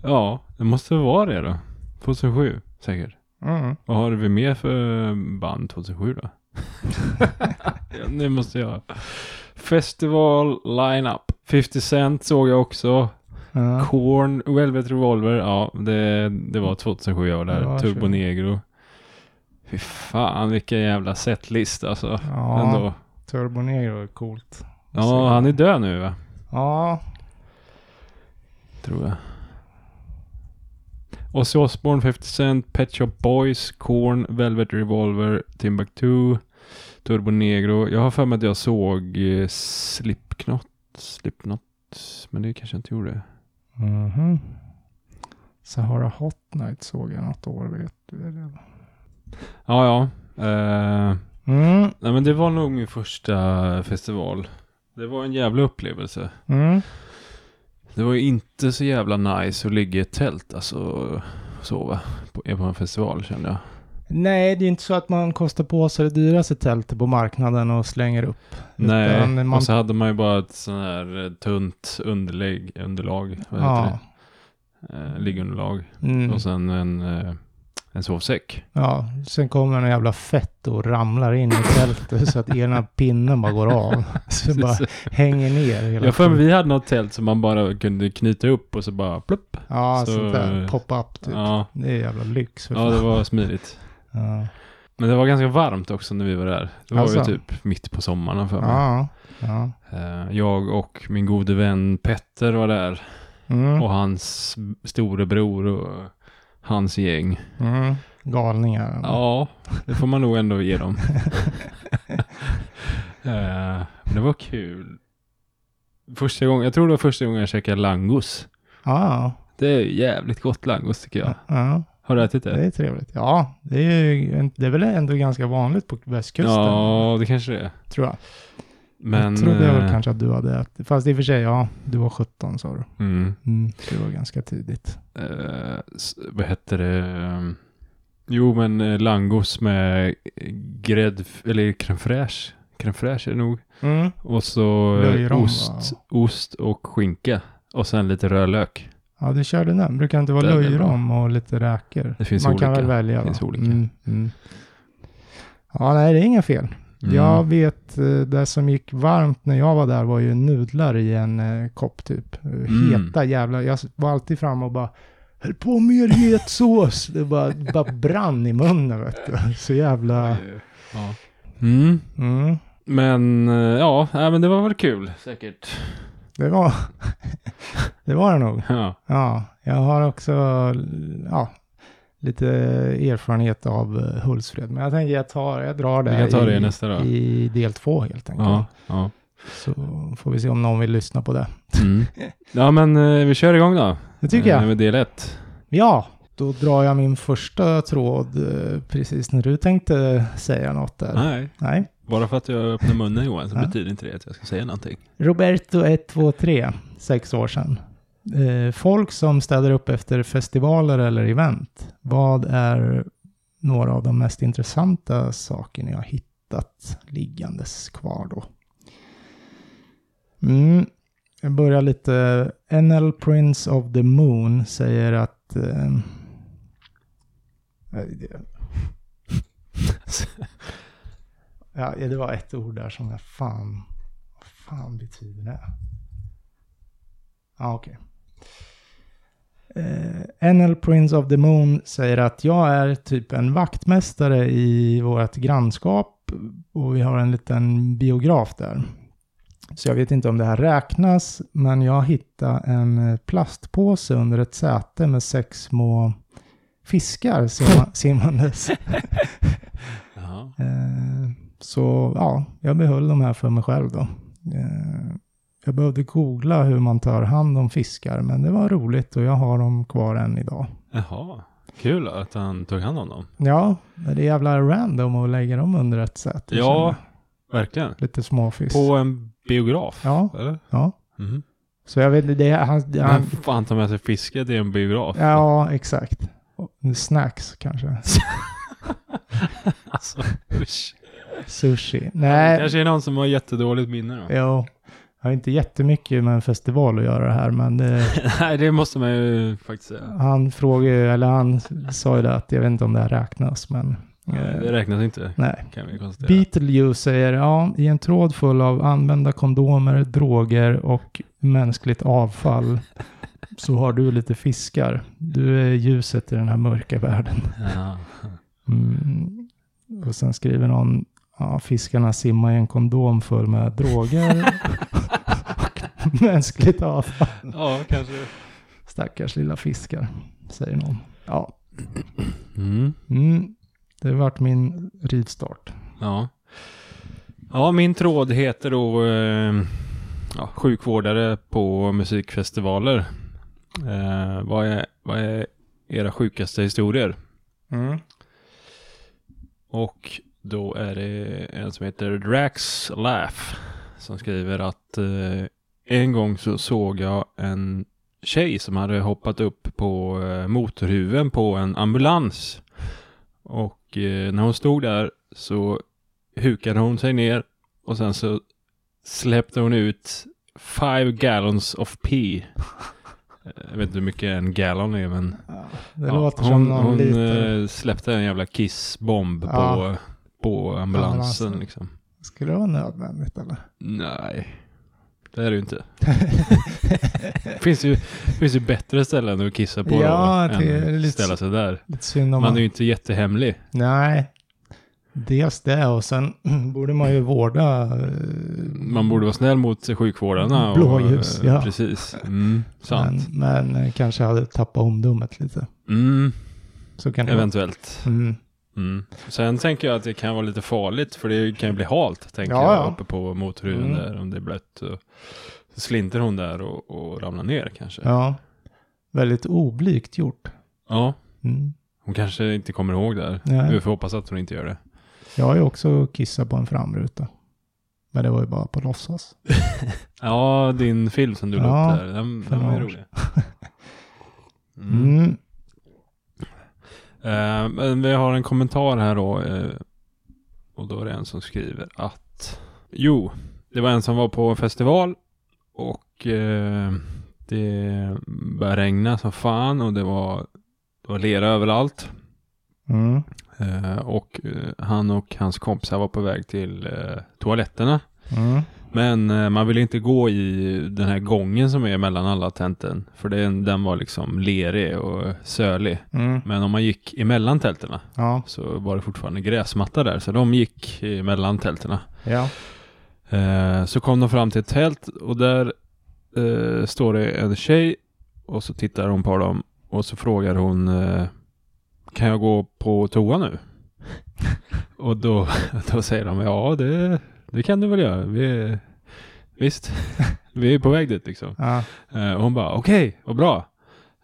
[SPEAKER 2] ja, det måste vara det då. 2007 säkert.
[SPEAKER 1] Mm.
[SPEAKER 2] Vad har vi mer för band 2007 då? ja, nu måste jag. Festival lineup. 50 Cent såg jag också.
[SPEAKER 1] Ja.
[SPEAKER 2] Korn, Velvet Revolver. Ja, det, det var 2007 jag var där.
[SPEAKER 1] Ja,
[SPEAKER 2] Turbo
[SPEAKER 1] sure.
[SPEAKER 2] Negro. Fy fan vilken jävla setlist alltså.
[SPEAKER 1] ja,
[SPEAKER 2] Ändå.
[SPEAKER 1] Turbo Negro är coolt.
[SPEAKER 2] Ja, han är död nu va?
[SPEAKER 1] Ja,
[SPEAKER 2] Tror jag. Ozzy Osbourne, 50 Cent, Pet Shop Boys, Korn, Velvet Revolver, Timbuktu, Turbo Negro. Jag har för mig att jag såg eh, Slipknot, Slipknot, men det kanske jag inte gjorde.
[SPEAKER 1] Mhm. Sahara Hot Night såg jag något år, vet du. eller?
[SPEAKER 2] Ja, ja. Eh,
[SPEAKER 1] Mm,
[SPEAKER 2] nej, men det var nog min första festival. Det var en jävla upplevelse.
[SPEAKER 1] mm.
[SPEAKER 2] Det var ju inte så jävla nice att ligga i ett tält, alltså och sova på, på en festival kände jag.
[SPEAKER 1] Nej, det är inte så att man kostar på sig det dyraste tältet på marknaden och slänger upp.
[SPEAKER 2] Nej,
[SPEAKER 1] Utan man-
[SPEAKER 2] och så hade man ju bara ett sån här eh, tunt underlägg, underlag, vad heter
[SPEAKER 1] Ja.
[SPEAKER 2] det? Eh, liggunderlag.
[SPEAKER 1] Mm.
[SPEAKER 2] Och sen en, eh, en sovsäck.
[SPEAKER 1] ja, sen kommer en jävla fett och ramlar in i tältet så att ena pinnen bara går av. Så det bara hänger ner hela
[SPEAKER 2] Jag för mig
[SPEAKER 1] tiden.
[SPEAKER 2] vi hade något tält som man bara kunde knyta upp och så bara plupp.
[SPEAKER 1] Ja,
[SPEAKER 2] så-
[SPEAKER 1] sånt där pop-up typ.
[SPEAKER 2] Ja,
[SPEAKER 1] Det är jävla lyx. För
[SPEAKER 2] ja,
[SPEAKER 1] fan.
[SPEAKER 2] det var smidigt.
[SPEAKER 1] ja.
[SPEAKER 2] Men det var ganska varmt också när vi var där. Det var
[SPEAKER 1] Alltså.
[SPEAKER 2] ju typ mitt på sommaren har jag för mig.
[SPEAKER 1] Ja, ja.
[SPEAKER 2] Eh, Jag och min gode vän Petter var där.
[SPEAKER 1] Mm.
[SPEAKER 2] Och hans storebror och hans gäng.
[SPEAKER 1] Mm. Galningar.
[SPEAKER 2] Ja, det får man nog ändå ge dem. Eh, men det var kul. Första gången, jag tror det var första gången jag käkade langos.
[SPEAKER 1] Ja,
[SPEAKER 2] Det är ju jävligt gott langos tycker jag.
[SPEAKER 1] ja. ja.
[SPEAKER 2] Har du ätit
[SPEAKER 1] Det
[SPEAKER 2] det?
[SPEAKER 1] är trevligt. Ja, det är, ju, en- det är väl ändå ganska vanligt på västkusten,
[SPEAKER 2] Ja, det kanske det är.
[SPEAKER 1] tror jag.
[SPEAKER 2] Men,
[SPEAKER 1] jag trodde jag väl
[SPEAKER 2] eh,
[SPEAKER 1] kanske att du hade ätit. Fast i och för sig, ja, du var 17 sa du.
[SPEAKER 2] Mm,
[SPEAKER 1] Mm, det var ganska tidigt.
[SPEAKER 2] eh, s- vad hette det? Ehm, Jo, men eh, langos med grädd, eller crème fraîche. Crème fraîche är det nog.
[SPEAKER 1] Mm.
[SPEAKER 2] Och så eh,
[SPEAKER 1] Löjrom,
[SPEAKER 2] ost, ost och skinka. Och sen lite rödlök.
[SPEAKER 1] Ja, du körde den. Brukar det inte vara
[SPEAKER 2] Den är
[SPEAKER 1] löjrom och lite räkor?
[SPEAKER 2] Det finns
[SPEAKER 1] Man kan
[SPEAKER 2] olika.
[SPEAKER 1] väl välja.
[SPEAKER 2] Det
[SPEAKER 1] va?
[SPEAKER 2] finns olika.
[SPEAKER 1] Mm, mm. Ja, nej, det är inga fel.
[SPEAKER 2] Mm.
[SPEAKER 1] Jag vet, eh, det som gick varmt när jag var där var ju nudlar i en eh, kopp typ. Eh,
[SPEAKER 2] Mm.
[SPEAKER 1] Heta jävla, jag var alltid framme och bara Häll på mer het sås. Det bara, bara brann i munnen vet du. Så jävla...
[SPEAKER 2] Ja. Mm.
[SPEAKER 1] Mm.
[SPEAKER 2] Men eh, ja, nej, men det var väl kul. Säkert.
[SPEAKER 1] Det var... det var det nog.
[SPEAKER 2] Ja.
[SPEAKER 1] Ja, jag har också ja, lite erfarenhet av eh, Hultsfred. Men jag tänker jag, tar, jag drar det,
[SPEAKER 2] Vi kan ta det i
[SPEAKER 1] i,
[SPEAKER 2] nästa då.
[SPEAKER 1] i del två helt enkelt.
[SPEAKER 2] Ja, ja.
[SPEAKER 1] Så får vi se om någon vill lyssna på det.
[SPEAKER 2] Mm. ja, men eh, vi kör igång då.
[SPEAKER 1] Det tycker jag.
[SPEAKER 2] Eh, Med del ett.
[SPEAKER 1] Ja, då drar jag min första tråd eh, precis när du tänkte säga något där.
[SPEAKER 2] Nej,
[SPEAKER 1] Nej.
[SPEAKER 2] bara för att jag öppnar munnen Johan så
[SPEAKER 1] Ja.
[SPEAKER 2] betyder inte det att jag ska säga någonting.
[SPEAKER 1] Roberto 123, sex år sedan. Eh, folk som städar upp efter festivaler eller event. Vad är några av de mest intressanta sakerna jag har hittat liggandes kvar då? Mm, Jag börjar lite. NL Prince of the Moon säger att... Eh, ja, det var ett ord där som jag fan... Vad fan betyder det? Ja, okej. Eh, NL Prince of the Moon säger att jag är typ en vaktmästare i vårt grannskap och vi har en liten biograf där. Så jag vet inte om det här räknas, men jag hittade en plastpåse under ett säte med sex små fiskar simma, simmandes.
[SPEAKER 2] Jaha.
[SPEAKER 1] Eh, Så ja, jag behöll de här för mig själv då. Eh, Jag behövde googla hur man tar hand om fiskar, men det var roligt och jag har dem kvar än idag.
[SPEAKER 2] Jaha. Kul att han tog hand om dem.
[SPEAKER 1] Ja, men det är jävla random att lägga dem under ett sätt.
[SPEAKER 2] Ja, verkligen.
[SPEAKER 1] Lite småfisk.
[SPEAKER 2] På en biograf?
[SPEAKER 1] Ja.
[SPEAKER 2] Eller?
[SPEAKER 1] Ja.
[SPEAKER 2] Mhm.
[SPEAKER 1] Så jag vet inte, det är han...
[SPEAKER 2] Men
[SPEAKER 1] han
[SPEAKER 2] fan ta med sig fiske till en biograf?
[SPEAKER 1] ja, exakt. Snacks kanske.
[SPEAKER 2] Alltså, usch.
[SPEAKER 1] Sushi.
[SPEAKER 2] Det
[SPEAKER 1] Nej,
[SPEAKER 2] kanske är någon som har jättedåligt minne då.
[SPEAKER 1] jo. Jag har inte jättemycket med en festival att göra det här, men det...
[SPEAKER 2] Nej, det måste man ju faktiskt säga.
[SPEAKER 1] Han frågade ju, eller han sa ju det att jag vet inte om det här räknas, men... eh,
[SPEAKER 2] Det räknas inte,
[SPEAKER 1] nej.
[SPEAKER 2] kan vi konstatera.
[SPEAKER 1] Beetlejuice säger, ja, i en tråd full av använda kondomer, droger och mänskligt avfall så har du lite fiskar. Du är ljuset i den här mörka världen.
[SPEAKER 2] Ja.
[SPEAKER 1] Mm. Och sen skriver någon, ja, fiskarna simmar i en kondom full med droger och mänskligt avfall.
[SPEAKER 2] ja, kanske.
[SPEAKER 1] Stackars lilla fiskar, säger någon. Ja,
[SPEAKER 2] Mm.
[SPEAKER 1] Mm, det vart min rivstart.
[SPEAKER 2] Ja. ja, min tråd heter då eh, ja, sjukvårdare på musikfestivaler. Eh, vad, är, vad är era sjukaste historier? Och då är det en som heter Drax Laugh som skriver att eh, en gång så såg jag en tjej som hade hoppat upp på eh, motorhuven på en ambulans. Och eh, när hon stod där så hukade hon sig ner och sen så släppte hon ut five gallons of pee. Eh, Jag vet inte hur mycket en gallon är men
[SPEAKER 1] Ja, det
[SPEAKER 2] Ja,
[SPEAKER 1] låter
[SPEAKER 2] hon,
[SPEAKER 1] som någon
[SPEAKER 2] hon
[SPEAKER 1] liten...
[SPEAKER 2] eh, släppte en jävla kissbomb
[SPEAKER 1] Ja.
[SPEAKER 2] på, på ambulansen
[SPEAKER 1] Ambulansen.
[SPEAKER 2] liksom.
[SPEAKER 1] Skulle det vara nödvändigt eller?
[SPEAKER 2] Nej, det är det ju inte. det finns ju, finns ju bättre ställen att kissa på
[SPEAKER 1] Ja,
[SPEAKER 2] då,
[SPEAKER 1] det är
[SPEAKER 2] än
[SPEAKER 1] lite
[SPEAKER 2] ställa sig där.
[SPEAKER 1] Lite synd om
[SPEAKER 2] Man
[SPEAKER 1] man...
[SPEAKER 2] är ju inte jättehemlig.
[SPEAKER 1] Nej. Dels det och sen borde man ju vårda... eh,
[SPEAKER 2] Man borde vara snäll mot sjukvårdarna. och- eh,
[SPEAKER 1] Blåljus, ja.
[SPEAKER 2] Precis, mm, sant.
[SPEAKER 1] men, men eh, kanske hade tappat omdömet lite.
[SPEAKER 2] Mm,
[SPEAKER 1] Så kan det vara.
[SPEAKER 2] eventuellt.
[SPEAKER 1] Mm.
[SPEAKER 2] Mm. Sen tänker jag att det kan vara lite farligt för det kan ju bli halt tänker
[SPEAKER 1] Ja,
[SPEAKER 2] jag
[SPEAKER 1] ja.
[SPEAKER 2] uppe på motorhuven
[SPEAKER 1] Mm.
[SPEAKER 2] där om det är blött. och- Så slinter hon där och, och ramlar ner kanske. Ja.
[SPEAKER 1] Ja. Väldigt oblygt gjort. Mm.
[SPEAKER 2] hon kanske inte kommer ihåg det här.
[SPEAKER 1] Nej.
[SPEAKER 2] Vi får hoppas att hon inte gör det.
[SPEAKER 1] Jag har ju också kissat på en framruta. Men det var ju bara på låtsas.
[SPEAKER 2] Ja, din film som du la
[SPEAKER 1] Ja,
[SPEAKER 2] upp där, den,
[SPEAKER 1] för
[SPEAKER 2] den var ju
[SPEAKER 1] några år
[SPEAKER 2] rolig. Mm.
[SPEAKER 1] Mm.
[SPEAKER 2] Eh, men vi har en kommentar här då. eh, och då är det en som skriver att Jo, det var en som var på en festival och eh, det började regna som fan och det var, det var lera överallt.
[SPEAKER 1] Mm.
[SPEAKER 2] Eh, och eh, han och hans kompisar var på väg till eh, toaletterna.
[SPEAKER 1] Mm.
[SPEAKER 2] Men eh, man ville inte gå i den här gången som är mellan alla tenten. För den, den var liksom lerig och sölig.
[SPEAKER 1] Mm.
[SPEAKER 2] Men om man gick emellan tälterna
[SPEAKER 1] Ja.
[SPEAKER 2] så var det fortfarande gräsmatta där. Så de gick emellan tälterna.
[SPEAKER 1] Ja.
[SPEAKER 2] Eh, så kom de fram till ett tält och där eh, står det en tjej och så tittar hon på dem och så frågar hon eh, Kan jag gå på toa nu? och då, då säger de Ja det, det kan du väl göra. Vi, visst, vi är på väg dit liksom.
[SPEAKER 1] Ja.
[SPEAKER 2] Eh, och hon bara okej, vad bra.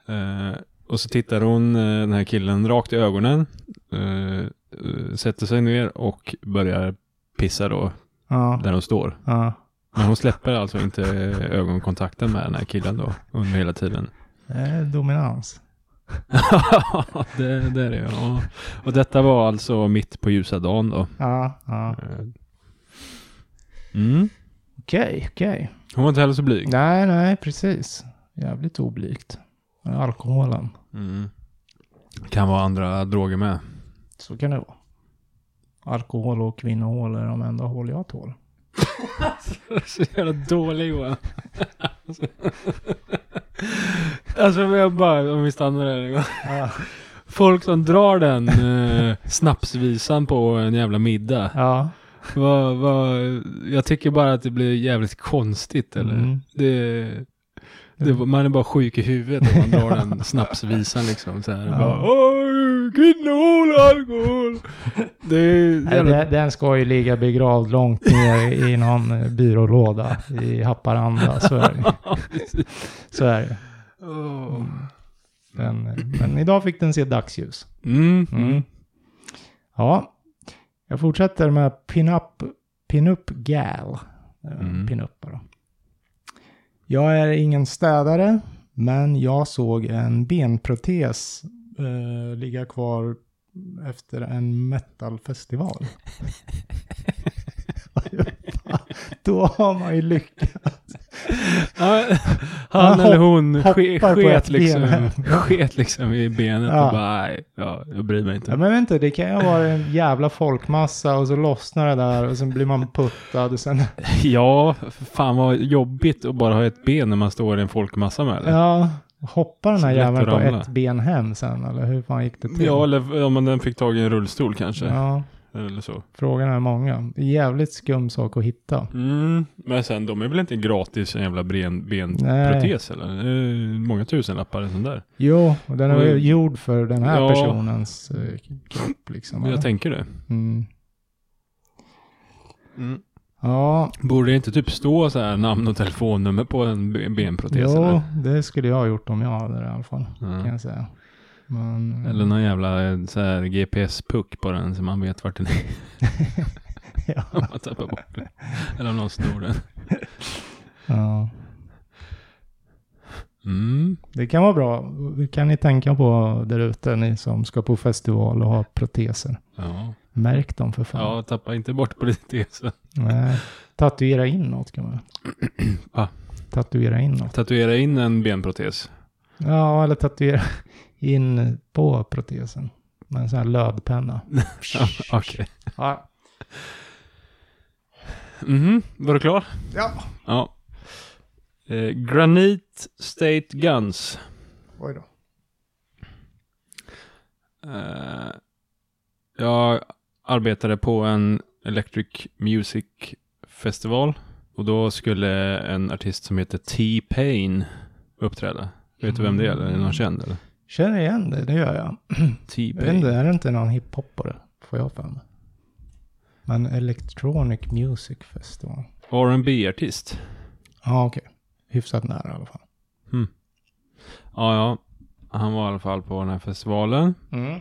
[SPEAKER 2] Eh, och så tittar hon eh, den här killen rakt i ögonen. Eh, eh, sätter sig ner och börjar pissa då
[SPEAKER 1] Ja.
[SPEAKER 2] där hon står.
[SPEAKER 1] ja.
[SPEAKER 2] Men hon släpper alltså inte eh, ögonkontakten med den här killen då under hela tiden.
[SPEAKER 1] Det är Eh, dominans.
[SPEAKER 2] det, det är det ja. Och detta var alltså mitt på ljusa dagen då.
[SPEAKER 1] Ja, ja.
[SPEAKER 2] Eh. Mm.
[SPEAKER 1] Okej, okej.
[SPEAKER 2] Hon var inte heller så blyg.
[SPEAKER 1] Nej, nej, precis. Jävligt oblygt. Men Alkoholen.
[SPEAKER 2] Mm. Kan vara andra droger med.
[SPEAKER 1] Så kan det vara. Alkohol och kvinnohål är de enda hål jag tål.
[SPEAKER 2] Så jävla dålig Johan. alltså men jag bara, om vi stannar där en gång.
[SPEAKER 1] Ja.
[SPEAKER 2] Folk som drar den eh, snapsvisan på en jävla middag.
[SPEAKER 1] Ja.
[SPEAKER 2] Vad, vad, jag tycker bara att det blir jävligt konstigt eller?
[SPEAKER 1] Mm.
[SPEAKER 2] Det, det, man är bara sjuk i huvudet om man drar den snapsvisan liksom. Så här. Bara, "Oj, Kvinnohål, alkohol. Det är
[SPEAKER 1] Nej,
[SPEAKER 2] jävla-
[SPEAKER 1] den, den ska ju ligga begravd långt ner i någon eh, byrålåda i Haparanda. Så är det. Så är det.
[SPEAKER 2] Åh.
[SPEAKER 1] Den, eh, men idag fick den se dagsljus.
[SPEAKER 2] Mm.
[SPEAKER 1] Mm. Ja, jag fortsätter med pin-up pin gal.
[SPEAKER 2] Mm.
[SPEAKER 1] Mm. pin då. Jag är ingen städare, men jag såg en benprotes eh, ligga kvar efter en metalfestival. Då har man ju lyckats.
[SPEAKER 2] Ja, han
[SPEAKER 1] Han
[SPEAKER 2] eller hon
[SPEAKER 1] hoppar
[SPEAKER 2] ske,
[SPEAKER 1] på
[SPEAKER 2] sket,
[SPEAKER 1] ett ben.
[SPEAKER 2] liksom, sket liksom i benet
[SPEAKER 1] Ja.
[SPEAKER 2] och bara nej, ja, jag bryr mig inte.
[SPEAKER 1] Ja, men vänta, det kan ju vara en jävla folkmassa och så lossnar det där och sen blir man puttad och sen...
[SPEAKER 2] Ja, för fan vad jobbigt att bara ha ett ben när man står i en folkmassa med det.
[SPEAKER 1] Ja, hoppar den
[SPEAKER 2] Så
[SPEAKER 1] här
[SPEAKER 2] lätt
[SPEAKER 1] jäveln
[SPEAKER 2] att
[SPEAKER 1] på
[SPEAKER 2] ramla.
[SPEAKER 1] ett ben hem sen eller hur fan gick det till?
[SPEAKER 2] Ja, eller om man den fick tag i en rullstol kanske.
[SPEAKER 1] Ja,
[SPEAKER 2] Eller så.
[SPEAKER 1] frågan är många. Jävligt skum sak att hitta.
[SPEAKER 2] Mm, men sen, de är väl inte gratis en jävla ben,
[SPEAKER 1] Nej.
[SPEAKER 2] benprotes eller? Det är Många tusenlappar en sån där.
[SPEAKER 1] Jo, och den är
[SPEAKER 2] Och-
[SPEAKER 1] ju gjord för den här
[SPEAKER 2] Ja.
[SPEAKER 1] personens eh, kropp liksom.
[SPEAKER 2] Jag
[SPEAKER 1] eller?
[SPEAKER 2] tänker det.
[SPEAKER 1] Mm. Ja,
[SPEAKER 2] Borde det inte typ stå så här namn och telefonnummer på en be- benprotes?
[SPEAKER 1] jo,
[SPEAKER 2] Eller?
[SPEAKER 1] det skulle jag ha gjort om jag hade det i alla fall. Kan
[SPEAKER 2] Ja.
[SPEAKER 1] jag säga. Men,
[SPEAKER 2] Eller någon jävla eh, så här GPS-puck på den så man vet vart den är.
[SPEAKER 1] ja,
[SPEAKER 2] Om man tappar bort den. Eller om någon snor den.
[SPEAKER 1] ja.
[SPEAKER 2] Mm.
[SPEAKER 1] Det kan vara bra. Det kan ni tänka på där ute, ni som ska på festival och har proteser.
[SPEAKER 2] Ja.
[SPEAKER 1] Märk dem för fan.
[SPEAKER 2] ja, tappa inte bort politesen.
[SPEAKER 1] Nej. Tatuera in något kan man
[SPEAKER 2] Va?
[SPEAKER 1] Tatuera in något.
[SPEAKER 2] Tatuera in en benprotes.
[SPEAKER 1] Ja, eller tatuera in på protesen. Med en sån här lödpenna.
[SPEAKER 2] Ja, Okej.
[SPEAKER 1] Ja.
[SPEAKER 2] Mhm, var du klar?
[SPEAKER 1] ja.
[SPEAKER 2] Ja. Eh, Granite State Guns.
[SPEAKER 1] Oj då.
[SPEAKER 2] Eh, jag arbetade på en Electric Music Festival och då skulle en artist som heter T-Pain uppträda. Vet du vem det är? Eller är det någon känd? Eller?
[SPEAKER 1] Känner igen det, det gör jag. Jag vet inte,
[SPEAKER 2] T-Pain.
[SPEAKER 1] är det inte någon hiphopare? Får jag för mig. Men Electronic Music Festival.
[SPEAKER 2] rb artist
[SPEAKER 1] Ja, okej. Hyfsat nära i alla fall.
[SPEAKER 2] Ja, ja. Han var i alla fall på den här festivalen.
[SPEAKER 1] Mm.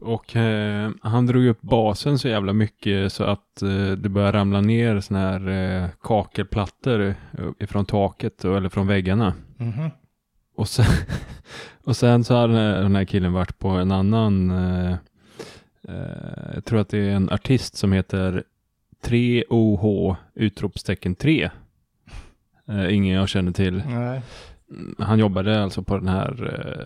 [SPEAKER 2] Och eh, han drog upp basen så jävla mycket så att eh, det började ramla ner såna här eh, kakelplattor eh, ifrån taket och- eller från väggarna.
[SPEAKER 1] Mhm.
[SPEAKER 2] Och sen, och sen så hade den här- den här killen varit på en annan, eh, eh, jag tror att det är en artist som heter 3OH utropstecken 3. Eh, ingen jag känner till.
[SPEAKER 1] Nej.
[SPEAKER 2] Mm, Han jobbade alltså på den här,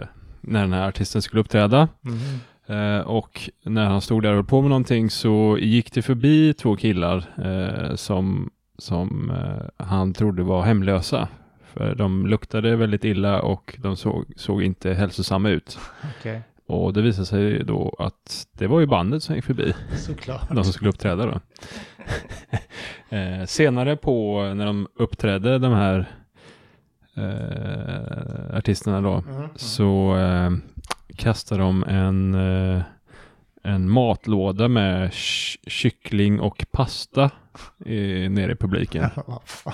[SPEAKER 2] eh, när den här artisten skulle uppträda.
[SPEAKER 1] Mhm.
[SPEAKER 2] Eh, och när han stod där och höll på med någonting så gick det förbi två killar eh, som, som eh, han trodde var hemlösa. För de luktade väldigt illa och de såg, såg inte hälsosamma ut.
[SPEAKER 1] Okej.
[SPEAKER 2] Och det visade sig då att det var ju bandet som gick förbi,
[SPEAKER 1] Såklart.
[SPEAKER 2] de som skulle uppträda då. eh, senare på när de uppträdde, de här eh, artisterna då,
[SPEAKER 1] Mhm.
[SPEAKER 2] så eh, kastar de en, eh, en matlåda med ky- kyckling och pasta eh, nere i publiken.
[SPEAKER 1] Vad fan.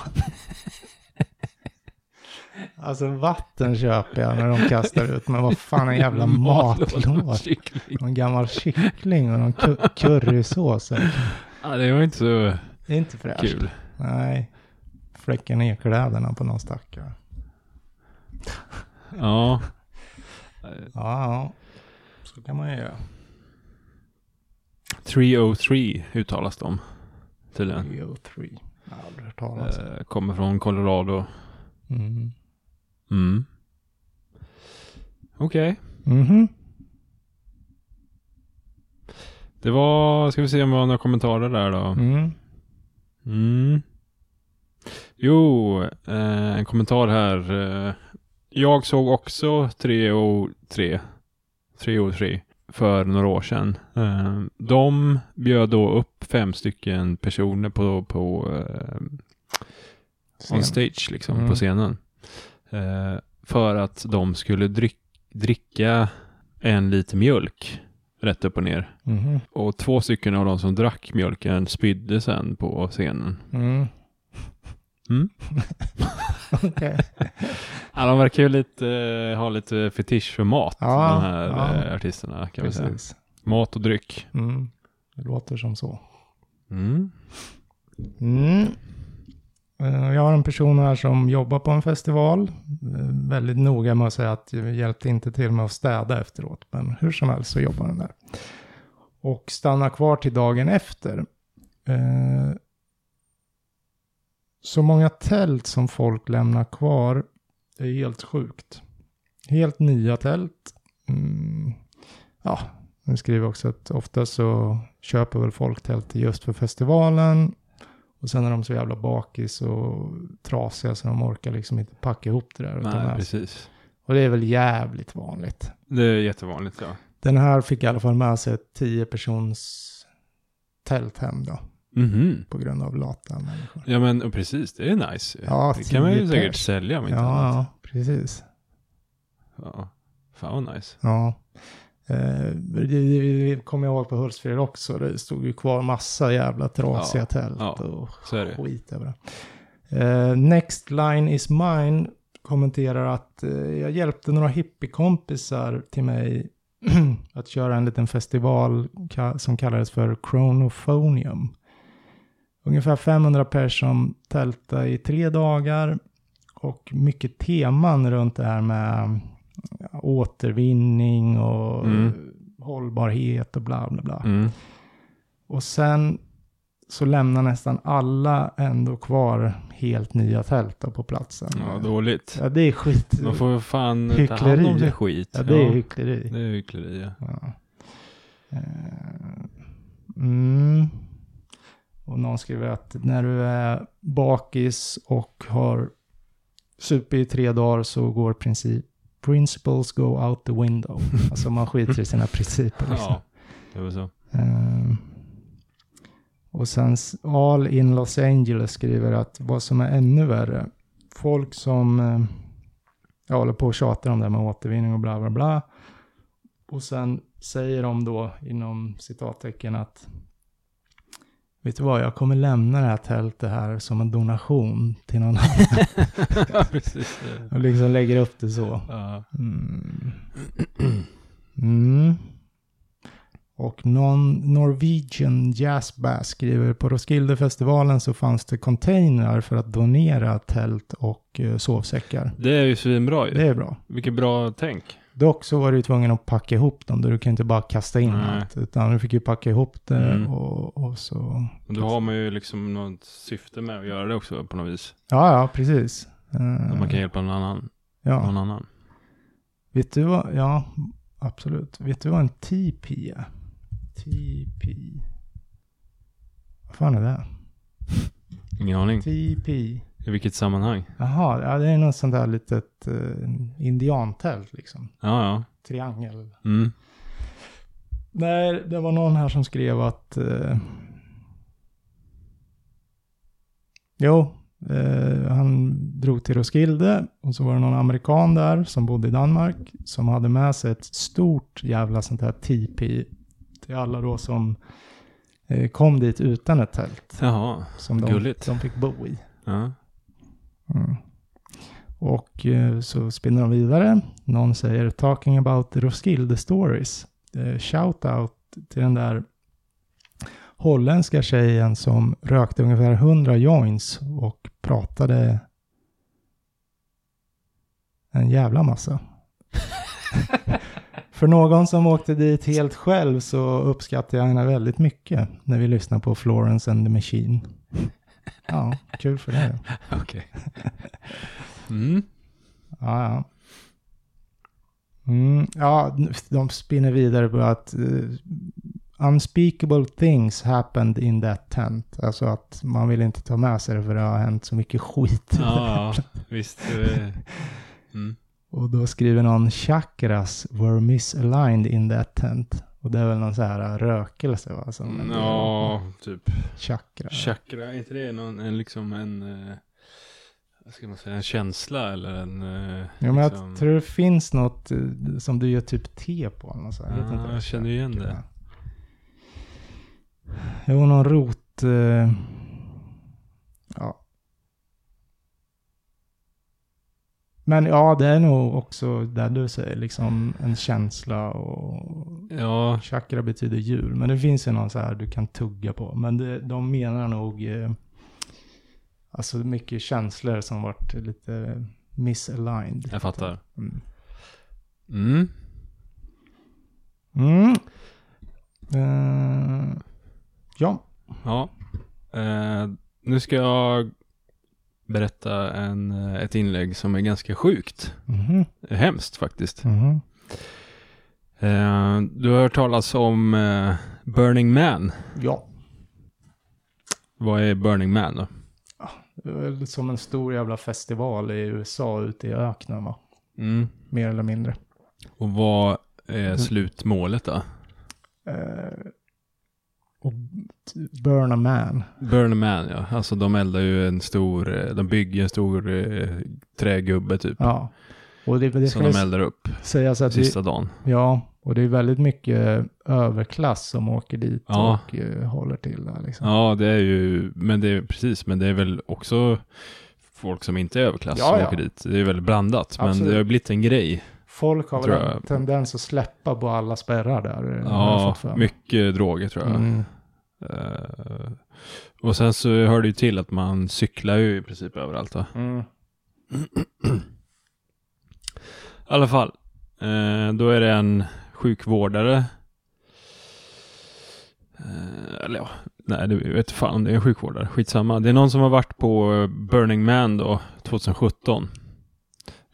[SPEAKER 1] Alltså vatten köper jag när de kastar ut, men vad fan en jävla matlåda.
[SPEAKER 2] med kyckling.
[SPEAKER 1] Någon gammal kyckling och någon cu- currysås. Det
[SPEAKER 2] Ja, det var inte så
[SPEAKER 1] är inte fräscht.
[SPEAKER 2] kul.
[SPEAKER 1] Nej. Fläcka ner kläderna på någon stackare.
[SPEAKER 2] Ja,
[SPEAKER 1] Ja, ja. Så kan man ju göra.
[SPEAKER 2] 303 uttalas de tydligen.
[SPEAKER 1] Geo 3. Jag har aldrig hört kvartal. Alltså.
[SPEAKER 2] Eh, kommer från Colorado. Eh.
[SPEAKER 1] Mm.
[SPEAKER 2] Mm. Okej.
[SPEAKER 1] Mhm.
[SPEAKER 2] Det var, ska vi se om vi har några kommentarer där då.
[SPEAKER 1] Mm.
[SPEAKER 2] Mm. Jo, eh, en kommentar här. Eh, jag såg också 303, 303 för några år sedan. Eh, de bjöd då upp fem stycken personer på, på eh, on
[SPEAKER 1] Sen.
[SPEAKER 2] stage liksom,
[SPEAKER 1] Mm.
[SPEAKER 2] på scenen. Eh, för att de skulle dryck, dricka en liter mjölk rätt upp och ner.
[SPEAKER 1] Mhm.
[SPEAKER 2] Och två stycken av de som drack mjölken spydde sen på scenen.
[SPEAKER 1] Mm.
[SPEAKER 2] Mm.
[SPEAKER 1] Okej.
[SPEAKER 2] Ja, de verkar ju lite, eh, ha lite fetisch för mat,
[SPEAKER 1] Ja,
[SPEAKER 2] de här
[SPEAKER 1] ja.
[SPEAKER 2] eh, artisterna. Kan vi säga.
[SPEAKER 1] Precis.
[SPEAKER 2] Mat och dryck.
[SPEAKER 1] Mm. Det låter som så.
[SPEAKER 2] Mm.
[SPEAKER 1] Mm. Eh, Jag har en person här som jobbar på en festival. Eh, Väldigt noga med att säga att jag hjälpte inte till med att städa efteråt. Men hur som helst så jobbar den där. Och stannar kvar till dagen efter. Eh, Så många tält som folk lämnar kvar är helt sjukt. Helt nya tält. Mm. Ja, den skriver också att ofta så köper väl folk tält just för festivalen. Och sen är de så jävla bakis och trasiga så de orkar liksom inte packa ihop det där. och ta
[SPEAKER 2] Nej,
[SPEAKER 1] med sig.
[SPEAKER 2] precis.
[SPEAKER 1] Och det är väl jävligt vanligt.
[SPEAKER 2] Det är jättevanligt. Ja.
[SPEAKER 1] Den här fick i alla fall med sig ett 10 persons tält hem då.
[SPEAKER 2] Mhm.
[SPEAKER 1] På grund av lata människor.
[SPEAKER 2] Ja, men och precis. Det är nice.
[SPEAKER 1] Ja,
[SPEAKER 2] det kan man ju
[SPEAKER 1] tio
[SPEAKER 2] säkert
[SPEAKER 1] pers.
[SPEAKER 2] sälja om
[SPEAKER 1] Ja,
[SPEAKER 2] inte annat.
[SPEAKER 1] ja, precis.
[SPEAKER 2] Ja. Fan vad nice.
[SPEAKER 1] Ja. Eh, det, det, det kommer jag ihåg på Hultsfred också. Det stod ju kvar massa jävla trasiga
[SPEAKER 2] Ja,
[SPEAKER 1] tält
[SPEAKER 2] ja.
[SPEAKER 1] och
[SPEAKER 2] Så är det.
[SPEAKER 1] skit över det. Eh, Next line is mine kommenterar att eh, jag hjälpte några hippiekompisar till mig att köra en liten festival ka- som kallades för Chronophonium. Ungefär 500 personer som tältade i tre dagar och mycket teman runt det här med ja, återvinning och
[SPEAKER 2] Mm.
[SPEAKER 1] eh, hållbarhet och bla bla bla.
[SPEAKER 2] Mm.
[SPEAKER 1] Och sen så lämnar nästan alla ändå kvar helt nya tält då på platsen.
[SPEAKER 2] Ja, dåligt.
[SPEAKER 1] Ja, det är skit.
[SPEAKER 2] Man får fan ta hand
[SPEAKER 1] Hyckleri.
[SPEAKER 2] om sin skit.
[SPEAKER 1] Ja, det är hyckleri.
[SPEAKER 2] det är hyckleri. Ja.
[SPEAKER 1] Ja. Eh, Mm. Och någon skriver att när du är bakis och har supit i tre dagar så går princip principles go out the window. Alltså man skiter i sina principer. Liksom.
[SPEAKER 2] ja, det var så.
[SPEAKER 1] Ehm, och sen s- All in Los Angeles skriver att vad som är ännu värre, folk som eh, jag håller på och tjatar om det här med återvinning och bla bla bla. Och sen säger de då inom citattecken att Vet du vad, jag kommer lämna det här tältet här som en donation till någon annan.
[SPEAKER 2] precis. det.
[SPEAKER 1] Och liksom lägger upp det så.
[SPEAKER 2] Ja.
[SPEAKER 1] Mm. Mm. Och någon Norwegian Jazz Bass skriver på Roskildefestivalen så fanns det containrar för att donera tält och eh, sovsäckar.
[SPEAKER 2] Det är ju svinbra ju.
[SPEAKER 1] Det är bra.
[SPEAKER 2] Vilket bra tänk.
[SPEAKER 1] Dock så var du ju tvungen att packa ihop dem, då du kan inte bara kasta in
[SPEAKER 2] Nej.
[SPEAKER 1] allt, utan du fick ju packa ihop det
[SPEAKER 2] Mm.
[SPEAKER 1] och, och så.
[SPEAKER 2] Och då har man ju liksom något syfte med att göra det också på något vis.
[SPEAKER 1] Ja, ja, precis. Eh,
[SPEAKER 2] Att man kan hjälpa någon annan.
[SPEAKER 1] ja.
[SPEAKER 2] Någon annan.
[SPEAKER 1] Vet du vad, ja, absolut. Vet du vad en TP är? TP. Vad fan är det?
[SPEAKER 2] Ingen aning.
[SPEAKER 1] TP.
[SPEAKER 2] I vilket sammanhang?
[SPEAKER 1] Jaha, ja, det är något sånt där litet eh, indiantält liksom.
[SPEAKER 2] Ja, ja.
[SPEAKER 1] Triangel.
[SPEAKER 2] Mm.
[SPEAKER 1] Nej, det var någon här som skrev att... Eh, jo, eh, han drog till Roskilde och så var det någon amerikan där som bodde i Danmark som hade med sig ett stort jävla sånt här tipi till alla då som eh, kom dit utan ett tält
[SPEAKER 2] Jaha.
[SPEAKER 1] som de,
[SPEAKER 2] Gulligt.
[SPEAKER 1] de fick bo i.
[SPEAKER 2] Ja.
[SPEAKER 1] Mm. Och eh, så spinner de vidare. Någon säger “Talking about the Roskilde stories”. Eh, Shout out till den där holländska tjejen som rökte ungefär 100 joints och pratade en jävla massa. För någon som åkte dit helt själv så uppskattar jag henne väldigt mycket när vi lyssnar på Florence and the Machine. Ja, kul för dig.
[SPEAKER 2] Okej. Mm.
[SPEAKER 1] Ja, ja. Mm, ja, de spinner vidare på att eh, unspeakable things happened in that tent. Alltså att man vill inte ta med sig det för det har hänt så mycket skit. i det.
[SPEAKER 2] Ja, ja, visst. eh, Mm.
[SPEAKER 1] Och då skriver någon chakras were misaligned in that tent. Och det är väl någon så här eh, rökelse va? Som en del av
[SPEAKER 2] Ja, typ.
[SPEAKER 1] Chakra.
[SPEAKER 2] Chakra, är inte det någon, en, liksom en, eh, vad ska man säga, en känsla eller en... eh,
[SPEAKER 1] Ja, men
[SPEAKER 2] liksom-
[SPEAKER 1] jag tror det finns något eh, som du gör typ te på. Något så här. Jag, vet
[SPEAKER 2] Ah,
[SPEAKER 1] inte vad det
[SPEAKER 2] jag känner igen
[SPEAKER 1] heter.
[SPEAKER 2] det.
[SPEAKER 1] Jo, någon rot... Eh, ja. Men ja, det är nog också där du säger, liksom en känsla och
[SPEAKER 2] Ja,
[SPEAKER 1] Chakra betyder djur, men det finns ju någon så här du kan tugga på. Men det, de menar nog eh, alltså mycket känslor som varit lite misaligned.
[SPEAKER 2] jag fattar.
[SPEAKER 1] Mm.
[SPEAKER 2] Mm.
[SPEAKER 1] Mm. Eh, ja,
[SPEAKER 2] Ja. Eh, nu ska jag berätta en, eh, ett inlägg som är ganska sjukt.
[SPEAKER 1] Mhm.
[SPEAKER 2] Hemskt faktiskt.
[SPEAKER 1] Mhm.
[SPEAKER 2] Eh, du har hört talas om eh, Burning Man.
[SPEAKER 1] ja.
[SPEAKER 2] Vad är Burning Man då?
[SPEAKER 1] Det är väl som en stor jävla festival i USA ute i öknen va?
[SPEAKER 2] Mm.
[SPEAKER 1] Mer eller mindre.
[SPEAKER 2] Och vad
[SPEAKER 1] Mm.
[SPEAKER 2] är slutmålet då?
[SPEAKER 1] Eh, och burn a man.
[SPEAKER 2] Burning Man ja, alltså de eldar ju en stor, eh, de bygger en stor eh, trägubbe typ.
[SPEAKER 1] Ja. Och det, det
[SPEAKER 2] som
[SPEAKER 1] ska
[SPEAKER 2] de
[SPEAKER 1] väl
[SPEAKER 2] eldar upp
[SPEAKER 1] sägas att det,
[SPEAKER 2] sista dagen.
[SPEAKER 1] Ja, och det är väldigt mycket överklass som åker dit
[SPEAKER 2] Ja.
[SPEAKER 1] och eh, håller till där. Liksom.
[SPEAKER 2] Ja, det är ju, men det är precis, men det är väl också folk som inte är överklass
[SPEAKER 1] Ja,
[SPEAKER 2] som
[SPEAKER 1] ja.
[SPEAKER 2] åker dit. Det är väl blandat, men
[SPEAKER 1] Absolut.
[SPEAKER 2] det har blivit en grej.
[SPEAKER 1] Folk har
[SPEAKER 2] Tror
[SPEAKER 1] väl en
[SPEAKER 2] jag.
[SPEAKER 1] tendens att släppa på alla spärrar där. eh, har jag
[SPEAKER 2] Ja,
[SPEAKER 1] fått för mig.
[SPEAKER 2] mycket droger tror jag.
[SPEAKER 1] Mm.
[SPEAKER 2] Eh, och sen så hör det ju till att man cyklar ju i princip överallt. Då.
[SPEAKER 1] Mm.
[SPEAKER 2] I alla fall, eh, då är det en sjukvårdare. Eh, eller ja, nej, det vet inte fan om det är en sjukvårdare. Skitsamma. Det är någon som har varit på eh, Burning Man då, 2017.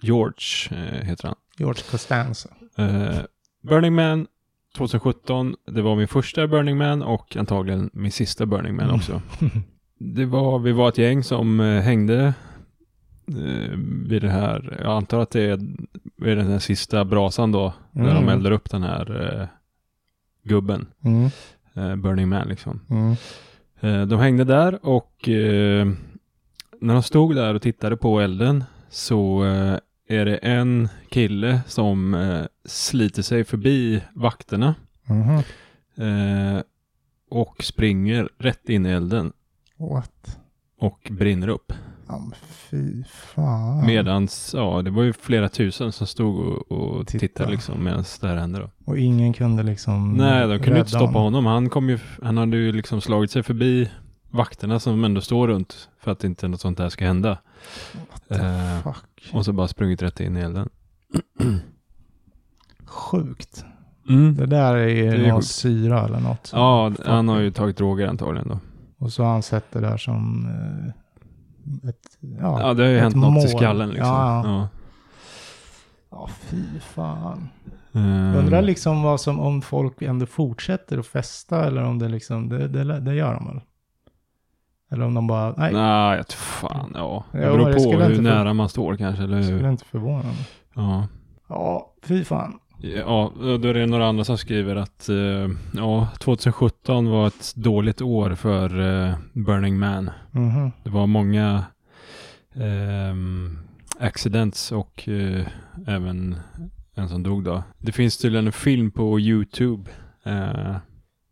[SPEAKER 2] George eh, heter han.
[SPEAKER 1] George Costanza.
[SPEAKER 2] Eh, Burning Man 2017, det var min första Burning Man och antagligen min sista Burning Man
[SPEAKER 1] Mm.
[SPEAKER 2] också. Det var, vi var ett gäng som eh, hängde eh, vid det här, jag antar att det är vid den här sista brasan då, när de
[SPEAKER 1] Mm.
[SPEAKER 2] eldar upp den här eh, gubben,
[SPEAKER 1] Mm.
[SPEAKER 2] eh, Burning Man liksom.
[SPEAKER 1] Mm.
[SPEAKER 2] Eh, de hängde där och eh, när de stod där och tittade på elden så eh, är det en kille som eh, sliter sig förbi vakterna
[SPEAKER 1] Mhm.
[SPEAKER 2] eh, och springer rätt in i elden
[SPEAKER 1] What?
[SPEAKER 2] och brinner upp.
[SPEAKER 1] Ja, men fy fan.
[SPEAKER 2] Medans, ja, det var ju flera tusen som stod och, och
[SPEAKER 1] Titta.
[SPEAKER 2] tittade liksom medan det här hände då.
[SPEAKER 1] Och ingen kunde liksom
[SPEAKER 2] Nej, de kunde
[SPEAKER 1] rädda
[SPEAKER 2] ju inte stoppa honom. Han, kom ju, han hade ju liksom slagit sig förbi vakterna som ändå står runt för att inte något sånt där ska hända.
[SPEAKER 1] What the
[SPEAKER 2] Eh,
[SPEAKER 1] fuck.
[SPEAKER 2] Och så bara sprungit rätt in i elden.
[SPEAKER 1] Sjukt.
[SPEAKER 2] Mm.
[SPEAKER 1] Det där är ju
[SPEAKER 2] Det är
[SPEAKER 1] någon
[SPEAKER 2] sjukt.
[SPEAKER 1] syra eller något.
[SPEAKER 2] Ja, han har ju tagit droger antagligen då.
[SPEAKER 1] Och så har han sett det där som eh, ett... Ja,
[SPEAKER 2] Ja, det har ju
[SPEAKER 1] ett
[SPEAKER 2] hänt något i
[SPEAKER 1] mål.
[SPEAKER 2] skallen liksom.
[SPEAKER 1] Ja, ja.
[SPEAKER 2] Ja.
[SPEAKER 1] ja fy fan.
[SPEAKER 2] Ehm,
[SPEAKER 1] Undrar liksom vad som, om folk ändå fortsätter att festa eller om det liksom, det, det, det gör de väl? Eller om de bara, nej,
[SPEAKER 2] Nej, jag vet fan. Ja, det
[SPEAKER 1] Ja,
[SPEAKER 2] beror
[SPEAKER 1] det
[SPEAKER 2] på
[SPEAKER 1] skulle
[SPEAKER 2] hur
[SPEAKER 1] inte få-
[SPEAKER 2] nära man står kanske. Eller
[SPEAKER 1] det skulle
[SPEAKER 2] hur?
[SPEAKER 1] inte förvåna mig.
[SPEAKER 2] Ja.
[SPEAKER 1] Ja, fy fan.
[SPEAKER 2] Ja, då är det några andra som skriver att eh, ja, 2017 var ett dåligt år för eh, Burning Man.
[SPEAKER 1] Mhm.
[SPEAKER 2] Det var många ehm, accidents och eh, även en som dog då. Det finns tydligen en film på YouTube. Eh,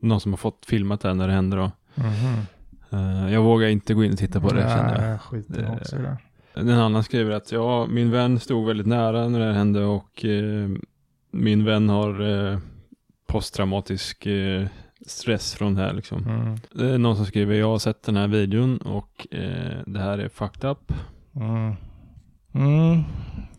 [SPEAKER 2] någon som har fått filmat det här när det hände då.
[SPEAKER 1] Mhm.
[SPEAKER 2] Eh, jag vågar inte gå in och titta på det kände
[SPEAKER 1] jag. skiter
[SPEAKER 2] Det-
[SPEAKER 1] också i det.
[SPEAKER 2] jag. En annan skriver att ja, min vän stod väldigt nära när det här hände och eh, min vän har eh, posttraumatisk eh, stress från det här liksom.
[SPEAKER 1] Mm.
[SPEAKER 2] Det är någon som skriver, jag har sett den här videon och eh, det här är fucked up.
[SPEAKER 1] Mm. Mm.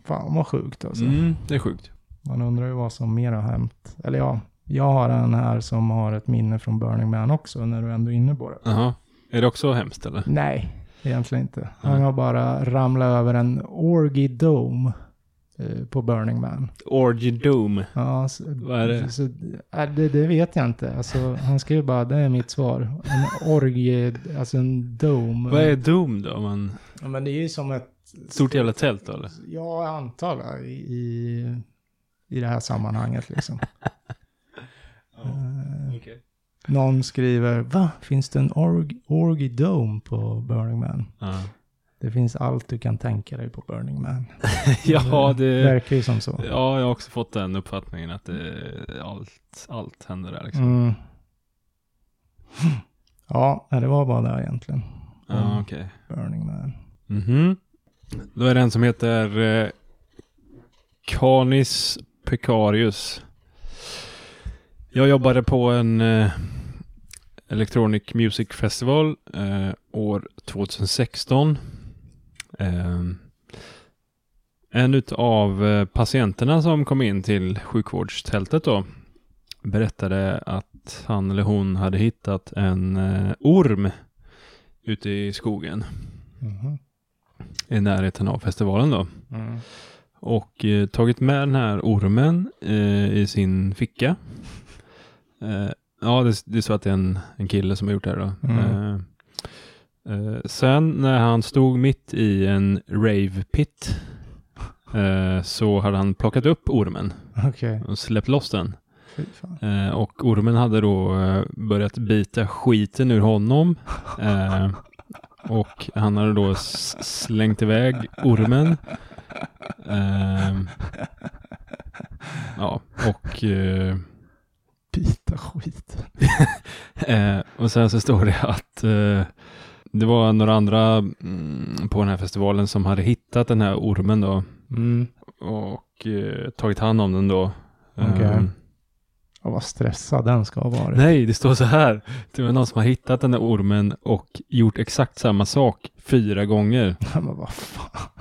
[SPEAKER 1] Fan vad sjukt alltså.
[SPEAKER 2] Mm, det är sjukt.
[SPEAKER 1] Man undrar ju vad som mer har hänt. Eller ja, jag har en här som har ett minne från Burning Man också, när du ändå är inne på det.
[SPEAKER 2] Jaha. Är det också hemskt eller?
[SPEAKER 1] Nej, Egentligen inte. Han har bara ramlat över en Orgy Dome eh, på Burning Man.
[SPEAKER 2] Orgy Doom.
[SPEAKER 1] Ja, så,
[SPEAKER 2] Vad är det?
[SPEAKER 1] Så, äh, det, det vet jag inte. Alltså, han skrev bara, det är mitt svar. En orgie, alltså en dome.
[SPEAKER 2] Vad är Doom då? Om Man,
[SPEAKER 1] Ja, men det är ju som ett,
[SPEAKER 2] stort jävla tält då eller?
[SPEAKER 1] ja, jag antar det, i, i, i det här sammanhanget liksom. Eh, Någon skriver, va? Finns det en org, orgy dome på Burning Man?
[SPEAKER 2] Ja.
[SPEAKER 1] Det finns allt du kan tänka dig på Burning Man.
[SPEAKER 2] ja,
[SPEAKER 1] Det
[SPEAKER 2] det...
[SPEAKER 1] verkar ju som så.
[SPEAKER 2] Ja, jag har också fått den uppfattningen att det, allt, allt händer där liksom.
[SPEAKER 1] Mm. Ja, nej, det var bara det egentligen.
[SPEAKER 2] Ja, okej.
[SPEAKER 1] Burning Man.
[SPEAKER 2] Mhm. Då är det en som heter eh, Canis Pecarius. Jag jobbade på en eh, Electronic Music Festival eh, år 2016. Eh, en av eh, patienterna som kom in till sjukvårdstältet då berättade att han eller hon hade hittat en eh, orm ute i skogen
[SPEAKER 1] Mhm.
[SPEAKER 2] i närheten av festivalen då.
[SPEAKER 1] Mm.
[SPEAKER 2] Och eh, tagit med den här ormen eh, i sin ficka. Eh, ja, det, det är så att det är en, en kille som har gjort det här då.
[SPEAKER 1] Mm.
[SPEAKER 2] Eh, eh, sen när han stod mitt i en rave pit eh, så hade han plockat upp ormen
[SPEAKER 1] Okej,
[SPEAKER 2] och släppt loss den.
[SPEAKER 1] fy fan.
[SPEAKER 2] Eh, och ormen hade då eh, börjat bita skiten ur honom. Eh, och han hade då s- slängt iväg ormen. Eh, ja, och, eh,
[SPEAKER 1] Bita skit.
[SPEAKER 2] eh, och sen så står det att eh, det var några andra mm, på den här festivalen som hade hittat den här ormen då.
[SPEAKER 1] Mm.
[SPEAKER 2] Och eh, tagit hand om den då.
[SPEAKER 1] Okej.
[SPEAKER 2] Eh,
[SPEAKER 1] Ja, vad stressad den ska ha varit.
[SPEAKER 2] Nej, det står så här. Det var någon som har hittat den där ormen och gjort exakt samma sak fyra gånger.
[SPEAKER 1] Men vad fan.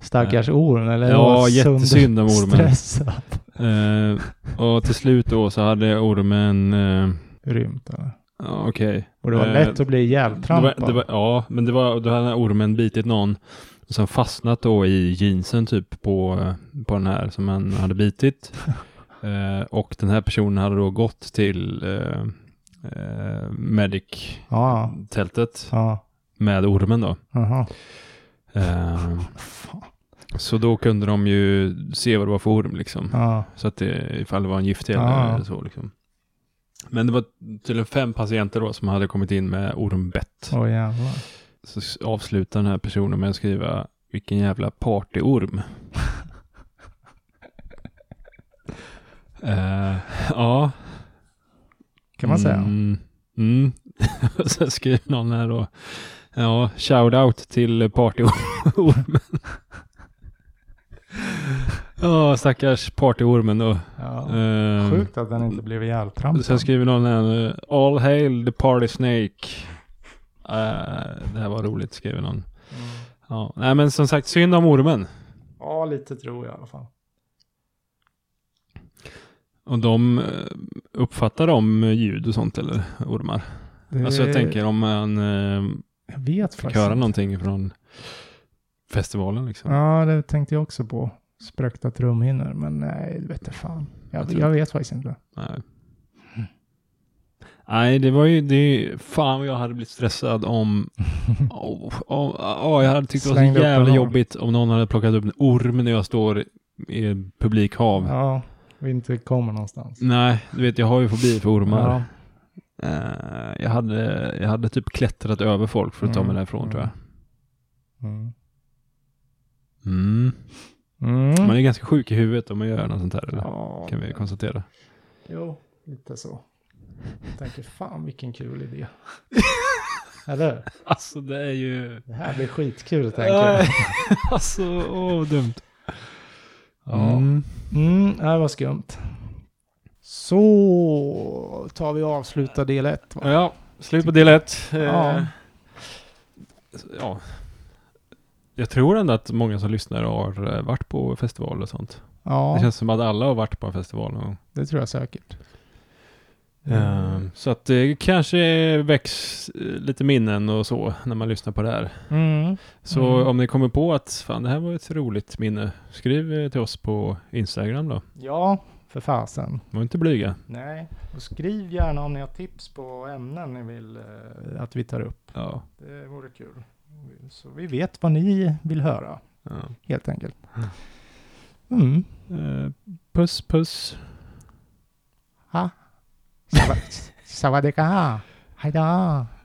[SPEAKER 1] Stackars orm eller?
[SPEAKER 2] Ja,
[SPEAKER 1] Vad
[SPEAKER 2] jättesynd om ormen.
[SPEAKER 1] Stressad.
[SPEAKER 2] Eh, och till slut då så hade ormen... Eh,
[SPEAKER 1] Rymt eller?
[SPEAKER 2] ja, Okej.
[SPEAKER 1] Och det var
[SPEAKER 2] Eh,
[SPEAKER 1] lätt att bli
[SPEAKER 2] Det var- det
[SPEAKER 1] ihjältrampad.
[SPEAKER 2] var- Ja, men det var, då hade den här ormen bitit någon och sen fastnat då i jeansen typ på, på den här som han hade bitit. Eh, och den här personen hade då gått till eh, eh, medic-tältet
[SPEAKER 1] Ja, ja.
[SPEAKER 2] med ormen då.
[SPEAKER 1] Aha.
[SPEAKER 2] Eh, Så då kunde de ju se vad det var för orm liksom.
[SPEAKER 1] Ja.
[SPEAKER 2] Så att det, ifall det var en giftig
[SPEAKER 1] Ja.
[SPEAKER 2] eller så liksom. Men det var tydligen fem patienter då som hade kommit in med ormbett.
[SPEAKER 1] Åh jävlar.
[SPEAKER 2] Så s- avslutar den här personen med att skriva vilken jävla partyorm. Eh, ja.
[SPEAKER 1] Kan man säga.
[SPEAKER 2] Mm. mm. Och Sen skriver någon här då. Ja, shout out till partyormen. Ja, stackars partyormen då.
[SPEAKER 1] Ja.
[SPEAKER 2] Ehm,
[SPEAKER 1] Sjukt att den inte blev ihjältrampad.
[SPEAKER 2] Sen skriver någon här. eh, All hail the party snake. Eh, det här var roligt skriver någon.
[SPEAKER 1] Mm.
[SPEAKER 2] Ja, nej men som sagt synd om ormen.
[SPEAKER 1] Ja, lite tror jag i alla fall.
[SPEAKER 2] Och de eh, uppfattar de ljud och sånt eller ormar?
[SPEAKER 1] Det-
[SPEAKER 2] Alltså jag tänker om man eh,
[SPEAKER 1] Jag vet
[SPEAKER 2] fick
[SPEAKER 1] faktiskt.
[SPEAKER 2] höra
[SPEAKER 1] inte.
[SPEAKER 2] någonting från festivalen liksom.
[SPEAKER 1] Ja, det tänkte jag också på. Sprökta trumhinnor, men nej, det vet jag fan. Jag,
[SPEAKER 2] Jag
[SPEAKER 1] jag,
[SPEAKER 2] tror-
[SPEAKER 1] vet faktiskt inte.
[SPEAKER 2] Nej. Nej, det var ju, det är ju, fan vad jag hade blivit stressad om, åh, åh, åh, jag hade tyckt det var
[SPEAKER 1] Slängde
[SPEAKER 2] så
[SPEAKER 1] upp en
[SPEAKER 2] jävla
[SPEAKER 1] orm.
[SPEAKER 2] jobbigt om någon hade plockat upp en orm när jag står i ett publikhav.
[SPEAKER 1] Ja, vi inte kommer någonstans.
[SPEAKER 2] Nej, du vet jag har ju fobi för ormar.
[SPEAKER 1] Ja,
[SPEAKER 2] Eh, jag, hade, jag hade typ klättrat över folk för att ta
[SPEAKER 1] Mm,
[SPEAKER 2] mig därifrån
[SPEAKER 1] mm.
[SPEAKER 2] tror jag.
[SPEAKER 1] mm.
[SPEAKER 2] Mm.
[SPEAKER 1] Mm.
[SPEAKER 2] Man är ganska sjuk i huvudet om man gör något sånt här, eller?
[SPEAKER 1] ja,
[SPEAKER 2] kan vi konstatera.
[SPEAKER 1] Jo, lite så. Jag tänker fan vilken kul idé. Eller
[SPEAKER 2] Alltså det är ju...
[SPEAKER 1] Det här blir skitkul tänker jag.
[SPEAKER 2] alltså, åh vad dumt.
[SPEAKER 1] Ja.
[SPEAKER 2] Mm.
[SPEAKER 1] Mm, det här var skumt. Så tar vi och avslutar del ett. va?
[SPEAKER 2] ja, slut på del ett. Eh,
[SPEAKER 1] Ja.
[SPEAKER 2] ja. Jag tror ändå att många som lyssnar har eh, varit på festival och sånt. Det
[SPEAKER 1] Ja,
[SPEAKER 2] känns som att alla har varit på en festival någon gång.
[SPEAKER 1] det tror jag säkert.
[SPEAKER 2] Ehm, så att det kanske väcks eh, lite minnen och så när man lyssnar på det här.
[SPEAKER 1] Mm.
[SPEAKER 2] Så
[SPEAKER 1] Mm.
[SPEAKER 2] om ni kommer på att fan det här var ett roligt minne, skriv eh, till oss på Instagram då.
[SPEAKER 1] Ja, för fasen.
[SPEAKER 2] Var inte blyga.
[SPEAKER 1] Nej, och skriv gärna om ni har tips på ämnen ni vill eh, att vi tar upp.
[SPEAKER 2] Ja.
[SPEAKER 1] Det vore kul. Så vi vet vad ni vill höra,
[SPEAKER 2] ja.
[SPEAKER 1] helt enkelt. Mm.
[SPEAKER 2] Eh, puss puss.
[SPEAKER 1] Ha. Sava- Savadika. Hej då.